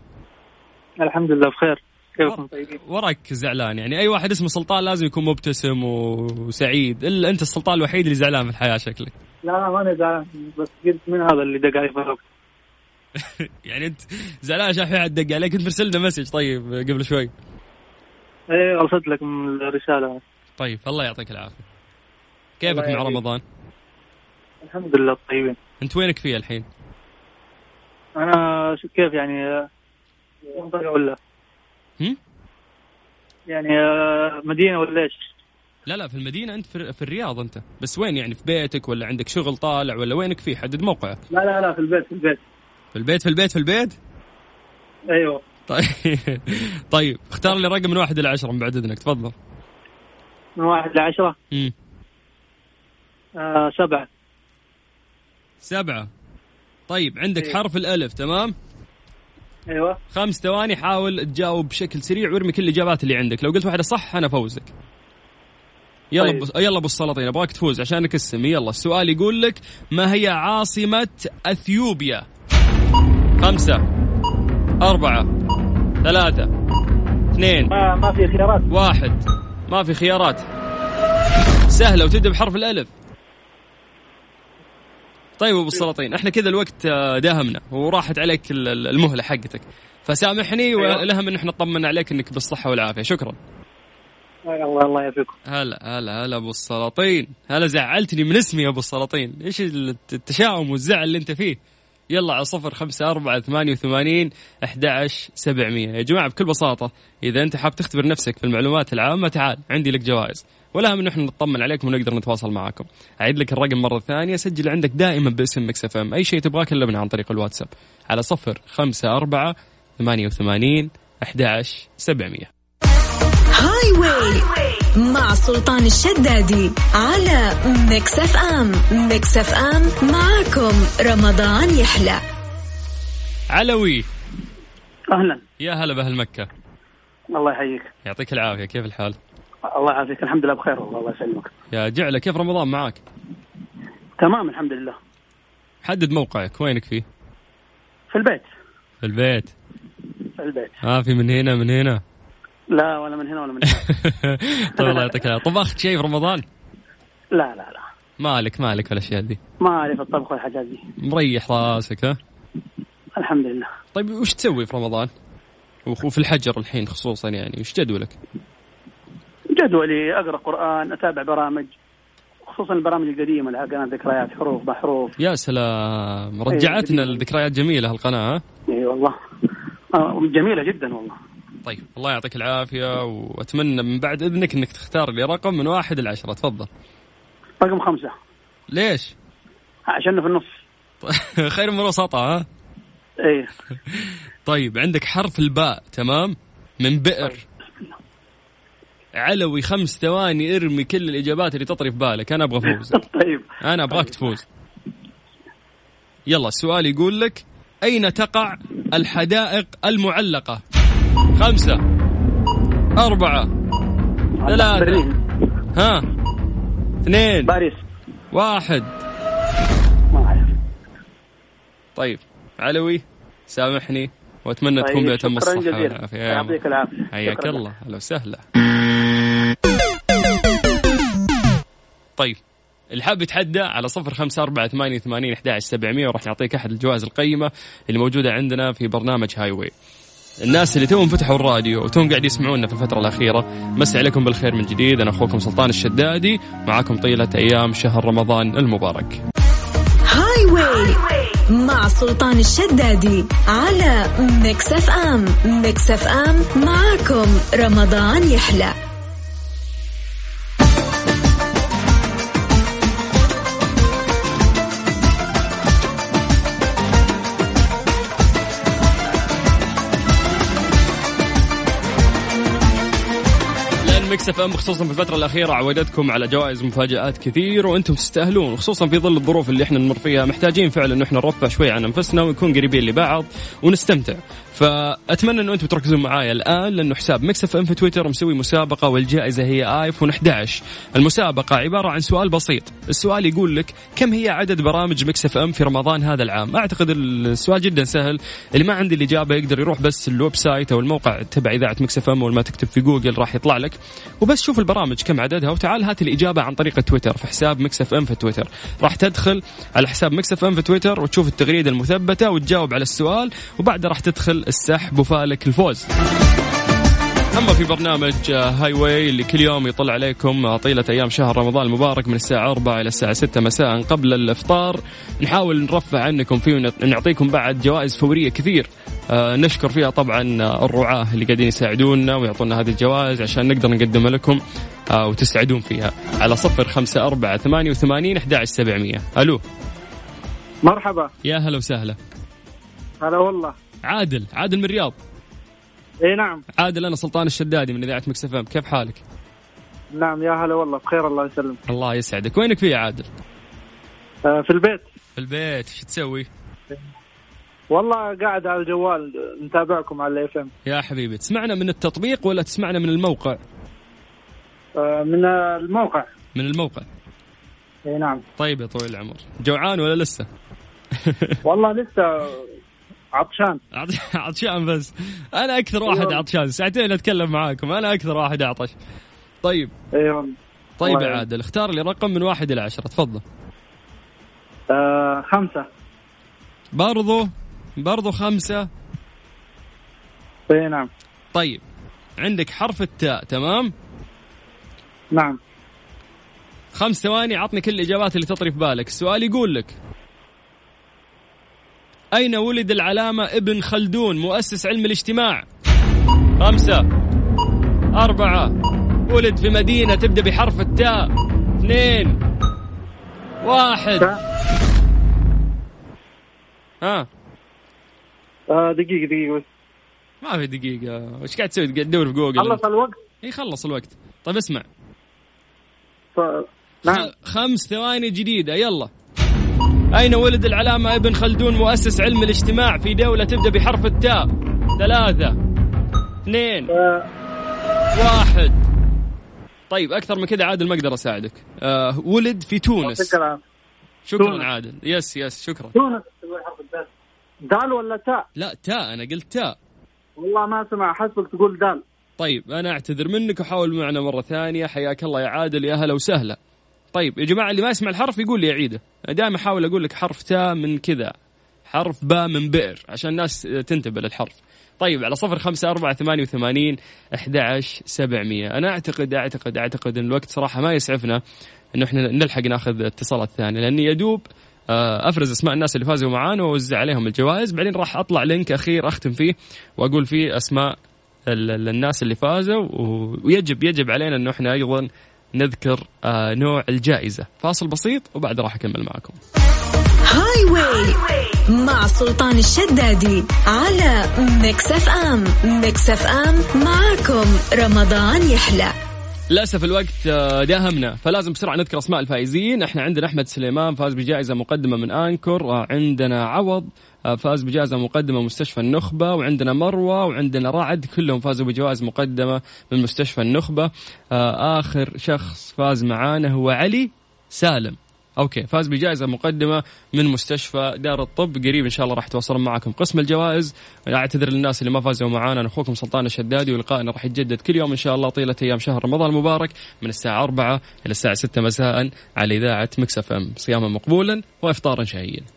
Speaker 6: الحمد لله بخير كيفكم طيبين
Speaker 4: وراك زعلان يعني اي واحد اسمه سلطان لازم يكون مبتسم وسعيد الا انت السلطان الوحيد اللي زعلان في الحياه شكلك
Speaker 6: لا لا ماني زعلان بس قلت من هذا اللي دق علي في الوقت
Speaker 4: يعني انت زعلان عشان في حد دق عليك انت مرسل لنا مسج طيب قبل شوي
Speaker 6: ايه ارسلت لك من الرساله
Speaker 4: طيب الله يعطيك العافيه كيفك
Speaker 6: الله
Speaker 4: مع
Speaker 6: يعافيك.
Speaker 4: رمضان؟
Speaker 6: الحمد لله طيبين
Speaker 4: انت وينك فيه الحين؟
Speaker 6: انا شو كيف يعني منطقه ولا
Speaker 4: هم؟
Speaker 6: يعني آه، مدينه ولا ايش؟
Speaker 4: لا لا في المدينة أنت في في الرياض أنت بس وين يعني في بيتك ولا عندك شغل طالع ولا وينك فيه حدد موقعك
Speaker 6: لا لا لا في البيت في البيت
Speaker 4: في البيت في البيت في البيت [laughs]
Speaker 6: ايوه
Speaker 4: طيب طيب اختار لي رقم من واحد إلى عشرة من بعد إذنك تفضل
Speaker 6: من واحد لعشره
Speaker 4: مم.
Speaker 6: آه سبعه
Speaker 4: سبعة طيب عندك
Speaker 6: إيه.
Speaker 4: حرف الألف تمام
Speaker 6: ايوه
Speaker 4: خمس ثواني حاول تجاوب بشكل سريع وارمي كل الإجابات اللي عندك لو قلت واحدة صح أنا فوزك يلا
Speaker 6: طيب.
Speaker 4: طيب. يلا ابو السلاطين ابغاك تفوز عشان اكسم يلا السؤال يقول لك ما هي عاصمة اثيوبيا؟ خمسة أربعة ثلاثة اثنين
Speaker 6: ما ما في خيارات
Speaker 4: واحد ما في خيارات سهلة وتبدأ بحرف الألف طيب أبو السلاطين احنا كذا الوقت آه، داهمنا وراحت عليك ال- ال- المهلة حقتك فسامحني والهم ان احنا طمنا عليك انك بالصحة والعافية شكرا
Speaker 6: الله الله يعافيكم
Speaker 4: هلا هلا هلا ابو السلاطين هلا زعلتني من اسمي يا ابو السلاطين ايش الت- التشاؤم والزعل اللي انت فيه يلا على صفر خمسة أربعة ثمانية وثمانين أحد سبعمية يا جماعة بكل بساطة إذا أنت حاب تختبر نفسك في المعلومات العامة تعال عندي لك جوائز ولا هم نحن نطمن عليكم ونقدر نتواصل معاكم أعيد لك الرقم مرة ثانية سجل عندك دائما باسم مكس اف ام أي شيء تبغاه كلمنا عن طريق الواتساب على صفر خمسة أربعة ثمانية وثمانين أحد سبعمية
Speaker 3: هاي واي مع سلطان الشدادي على ميكس اف ام ميكس اف ام معاكم رمضان يحلى
Speaker 4: علوي
Speaker 6: اهلا
Speaker 4: يا هلا بأهل مكة
Speaker 6: الله يحييك
Speaker 4: يعطيك العافيه كيف الحال
Speaker 6: الله يعافيك الحمد لله بخير والله الله يسلمك
Speaker 4: يا جعله كيف رمضان معاك
Speaker 6: تمام الحمد لله
Speaker 4: حدد موقعك وينك فيه
Speaker 6: في البيت
Speaker 4: في البيت
Speaker 6: في البيت
Speaker 4: ما في من هنا من هنا [laughs]
Speaker 6: لا ولا من هنا ولا من هنا
Speaker 4: طيب الله يعطيك العافيه طبخت شيء في رمضان
Speaker 6: لا لا لا
Speaker 4: مالك مالك في الاشياء دي
Speaker 6: ما اعرف الطبخ والحاجات دي
Speaker 4: مريح راسك ها
Speaker 6: الحمد لله
Speaker 4: طيب وش تسوي في رمضان وخ- وفي الحجر الحين خصوصا يعني وش جدولك
Speaker 6: جدولي اقرا قران اتابع برامج خصوصا البرامج القديمه اللي على قناه ذكريات حروف بحروف
Speaker 4: يا سلام رجعتنا لذكريات جميله هالقناه ها
Speaker 6: اي والله آه، جميله جدا والله
Speaker 4: طيب الله يعطيك العافيه واتمنى من بعد اذنك انك تختار لي رقم من واحد لعشره تفضل
Speaker 6: رقم خمسه
Speaker 4: ليش
Speaker 6: عشان في النص
Speaker 4: [laughs] خير من وسطها ها
Speaker 6: اي
Speaker 4: طيب عندك حرف الباء تمام من بئر علوي خمس ثواني ارمي كل الاجابات اللي تطري في بالك انا ابغى افوزك
Speaker 6: [laughs] طيب
Speaker 4: انا ابغاك تفوز يلا السؤال يقول لك اين تقع الحدائق المعلقه خمسة أربعة ثلاثة
Speaker 6: برلين
Speaker 4: ها اثنين
Speaker 6: باريس
Speaker 4: واحد
Speaker 6: ما اعرف
Speaker 4: طيب علوي سامحني واتمنى
Speaker 6: طيب،
Speaker 4: تكون بأتم
Speaker 6: شكراً
Speaker 4: الصحة
Speaker 6: جزيلاً.
Speaker 4: والعافية يا عم.
Speaker 6: يعطيك العافية.
Speaker 4: حياك
Speaker 6: شكراً لك.
Speaker 4: الله هلا وسهلا طيب اللي حاب يتحدى على صفر خمسة أربعة ثمانية وثمانين أحد سبعمية وراح نعطيك أحد الجوائز القيمة اللي موجودة عندنا في برنامج هاي واي الناس اللي توهم فتحوا الراديو وتوهم قاعد يسمعونا في الفترة الأخيرة مسي عليكم بالخير من جديد أنا أخوكم سلطان الشدادي معاكم طيلة أيام شهر رمضان المبارك
Speaker 3: هاي واي مع سلطان الشدادي على ميكس اف ام ميكس اف ام معاكم رمضان يحلى
Speaker 4: لان مكس اف ام خصوصا في الفتره الاخيره عودتكم على جوائز مفاجات كثير وانتم تستاهلون خصوصا في ظل الظروف اللي احنا نمر فيها محتاجين فعلا ان احنا نرفع شوي عن انفسنا ونكون قريبين لبعض ونستمتع فاتمنى انه انتم تركزون معايا الان لانه حساب مكس اف ام في تويتر مسوي مسابقه والجائزه هي ايفون 11 المسابقه عباره عن سؤال بسيط السؤال يقول لك كم هي عدد برامج مكس اف ام في رمضان هذا العام اعتقد السؤال جدا سهل اللي ما عنده الاجابه يقدر يروح بس الويب سايت او الموقع تبع اذاعه مكس اف ام اول ما تكتب في جوجل راح يطلع لك وبس شوف البرامج كم عددها وتعال هات الاجابه عن طريق تويتر في حساب مكس اف ام في تويتر راح تدخل على حساب مكس اف ام في تويتر وتشوف التغريده المثبته وتجاوب على السؤال وبعدها راح تدخل السحب وفالك الفوز حنبة في برنامج هاي واي اللي كل يوم يطلع عليكم طيلة أيام شهر رمضان المبارك من الساعة 4 إلى الساعة 6 مساء قبل الإفطار نحاول نرفع عنكم فيه ونعطيكم بعد جوائز فورية كثير آه، نشكر فيها طبعا الرعاة اللي قاعدين يساعدونا ويعطونا هذه الجوائز عشان نقدر نقدمها لكم آه، وتسعدون فيها على صفر خمسة أربعة ثمانية وثمانين أحد عشر سبعمية ألو
Speaker 6: مرحبا
Speaker 4: يا هلا وسهلا
Speaker 6: هلا والله
Speaker 4: عادل عادل من الرياض
Speaker 6: اي نعم
Speaker 4: عادل أنا سلطان الشدادي من إذاعة مكسفة كيف حالك
Speaker 6: نعم يا هلا والله بخير الله يسلمك
Speaker 4: الله يسعدك وينك في يا عادل
Speaker 6: آه، في البيت
Speaker 4: في البيت ايش تسوي
Speaker 6: والله قاعد على الجوال متابعكم على الاف ام
Speaker 4: يا حبيبي تسمعنا من التطبيق ولا تسمعنا من الموقع
Speaker 6: آه، من الموقع
Speaker 4: من الموقع
Speaker 6: اي نعم
Speaker 4: طيب يا طويل العمر جوعان ولا لسه
Speaker 6: والله لسه عطشان
Speaker 4: عط- [laughs] عطشان بس انا اكثر واحد عطشان ساعتين اتكلم معاكم انا اكثر واحد اعطش طيب
Speaker 6: ايوه
Speaker 4: طيب
Speaker 6: الله
Speaker 4: يا
Speaker 6: يعين.
Speaker 4: عادل اختار لي رقم من واحد الى عشرة تفضل
Speaker 6: آه خمسة
Speaker 4: برضو برضو خمسة
Speaker 5: إيه،
Speaker 6: اي نعم
Speaker 4: طيب عندك حرف التاء تمام
Speaker 6: نعم
Speaker 4: خمس ثواني عطني كل الإجابات اللي تطري في بالك السؤال يقول لك أين ولد العلامة ابن خلدون مؤسس علم الاجتماع خمسة أربعة ولد في مدينة تبدأ بحرف التاء اثنين واحد ها
Speaker 6: آه دقيقة دقيقة بس
Speaker 4: ما في دقيقة وش قاعد تسوي قاعد تدور في جوجل
Speaker 6: خلص الوقت
Speaker 4: اي خلص الوقت طيب اسمع
Speaker 6: ف-
Speaker 4: نعم. خمس ثواني جديدة يلا أين ولد العلامة ابن خلدون مؤسس علم الاجتماع في دولة تبدأ بحرف التاء ثلاثة اثنين
Speaker 6: آه.
Speaker 4: واحد طيب أكثر من كذا عادل ما أقدر أساعدك آه ولد في تونس
Speaker 6: شكرا
Speaker 4: شكرا
Speaker 6: تونس.
Speaker 4: عادل يس يس شكرا
Speaker 6: تونس دال ولا تاء
Speaker 4: لا تاء أنا قلت تاء
Speaker 6: والله ما اسمع حسبك تقول دال
Speaker 4: طيب أنا أعتذر منك وحاول معنا مرة ثانية حياك الله يا عادل يا هلا وسهلا طيب يا جماعة اللي ما يسمع الحرف يقول لي أعيده دائما أحاول أقول لك حرف تاء من كذا حرف باء من بئر عشان الناس تنتبه للحرف طيب على صفر خمسة أربعة ثمانية وثمانين أحد عشر سبعمية أنا أعتقد أعتقد أعتقد أن الوقت صراحة ما يسعفنا أنه إحنا نلحق ناخذ اتصالات ثانية لأني يدوب آه، افرز اسماء الناس اللي فازوا معانا واوزع عليهم الجوائز بعدين راح اطلع لينك اخير اختم فيه واقول فيه اسماء ال- ال- الناس اللي فازوا و- ويجب يجب علينا انه احنا ايضا نذكر آه، نوع الجائزه فاصل بسيط وبعد راح اكمل معكم
Speaker 3: هاي واي مع سلطان الشدادي على ميكس اف ام ميكس اف ام معاكم رمضان يحلى
Speaker 4: للاسف الوقت آه، داهمنا فلازم بسرعه نذكر اسماء الفائزين احنا عندنا احمد سليمان فاز بجائزه مقدمه من انكر آه، عندنا عوض آه، فاز بجائزه مقدمه من مستشفى النخبه وعندنا مروه وعندنا رعد كلهم فازوا بجوائز مقدمه من مستشفى النخبه آه، اخر شخص فاز معانا هو علي سالم اوكي فاز بجائزه مقدمه من مستشفى دار الطب قريب ان شاء الله راح يتواصلون معكم قسم الجوائز اعتذر للناس اللي ما فازوا معانا انا اخوكم سلطان الشدادي ولقائنا راح يتجدد كل يوم ان شاء الله طيله ايام شهر رمضان المبارك من الساعه 4 الى الساعه 6 مساء على اذاعه مكسف ام صياما مقبولا وافطارا شهيا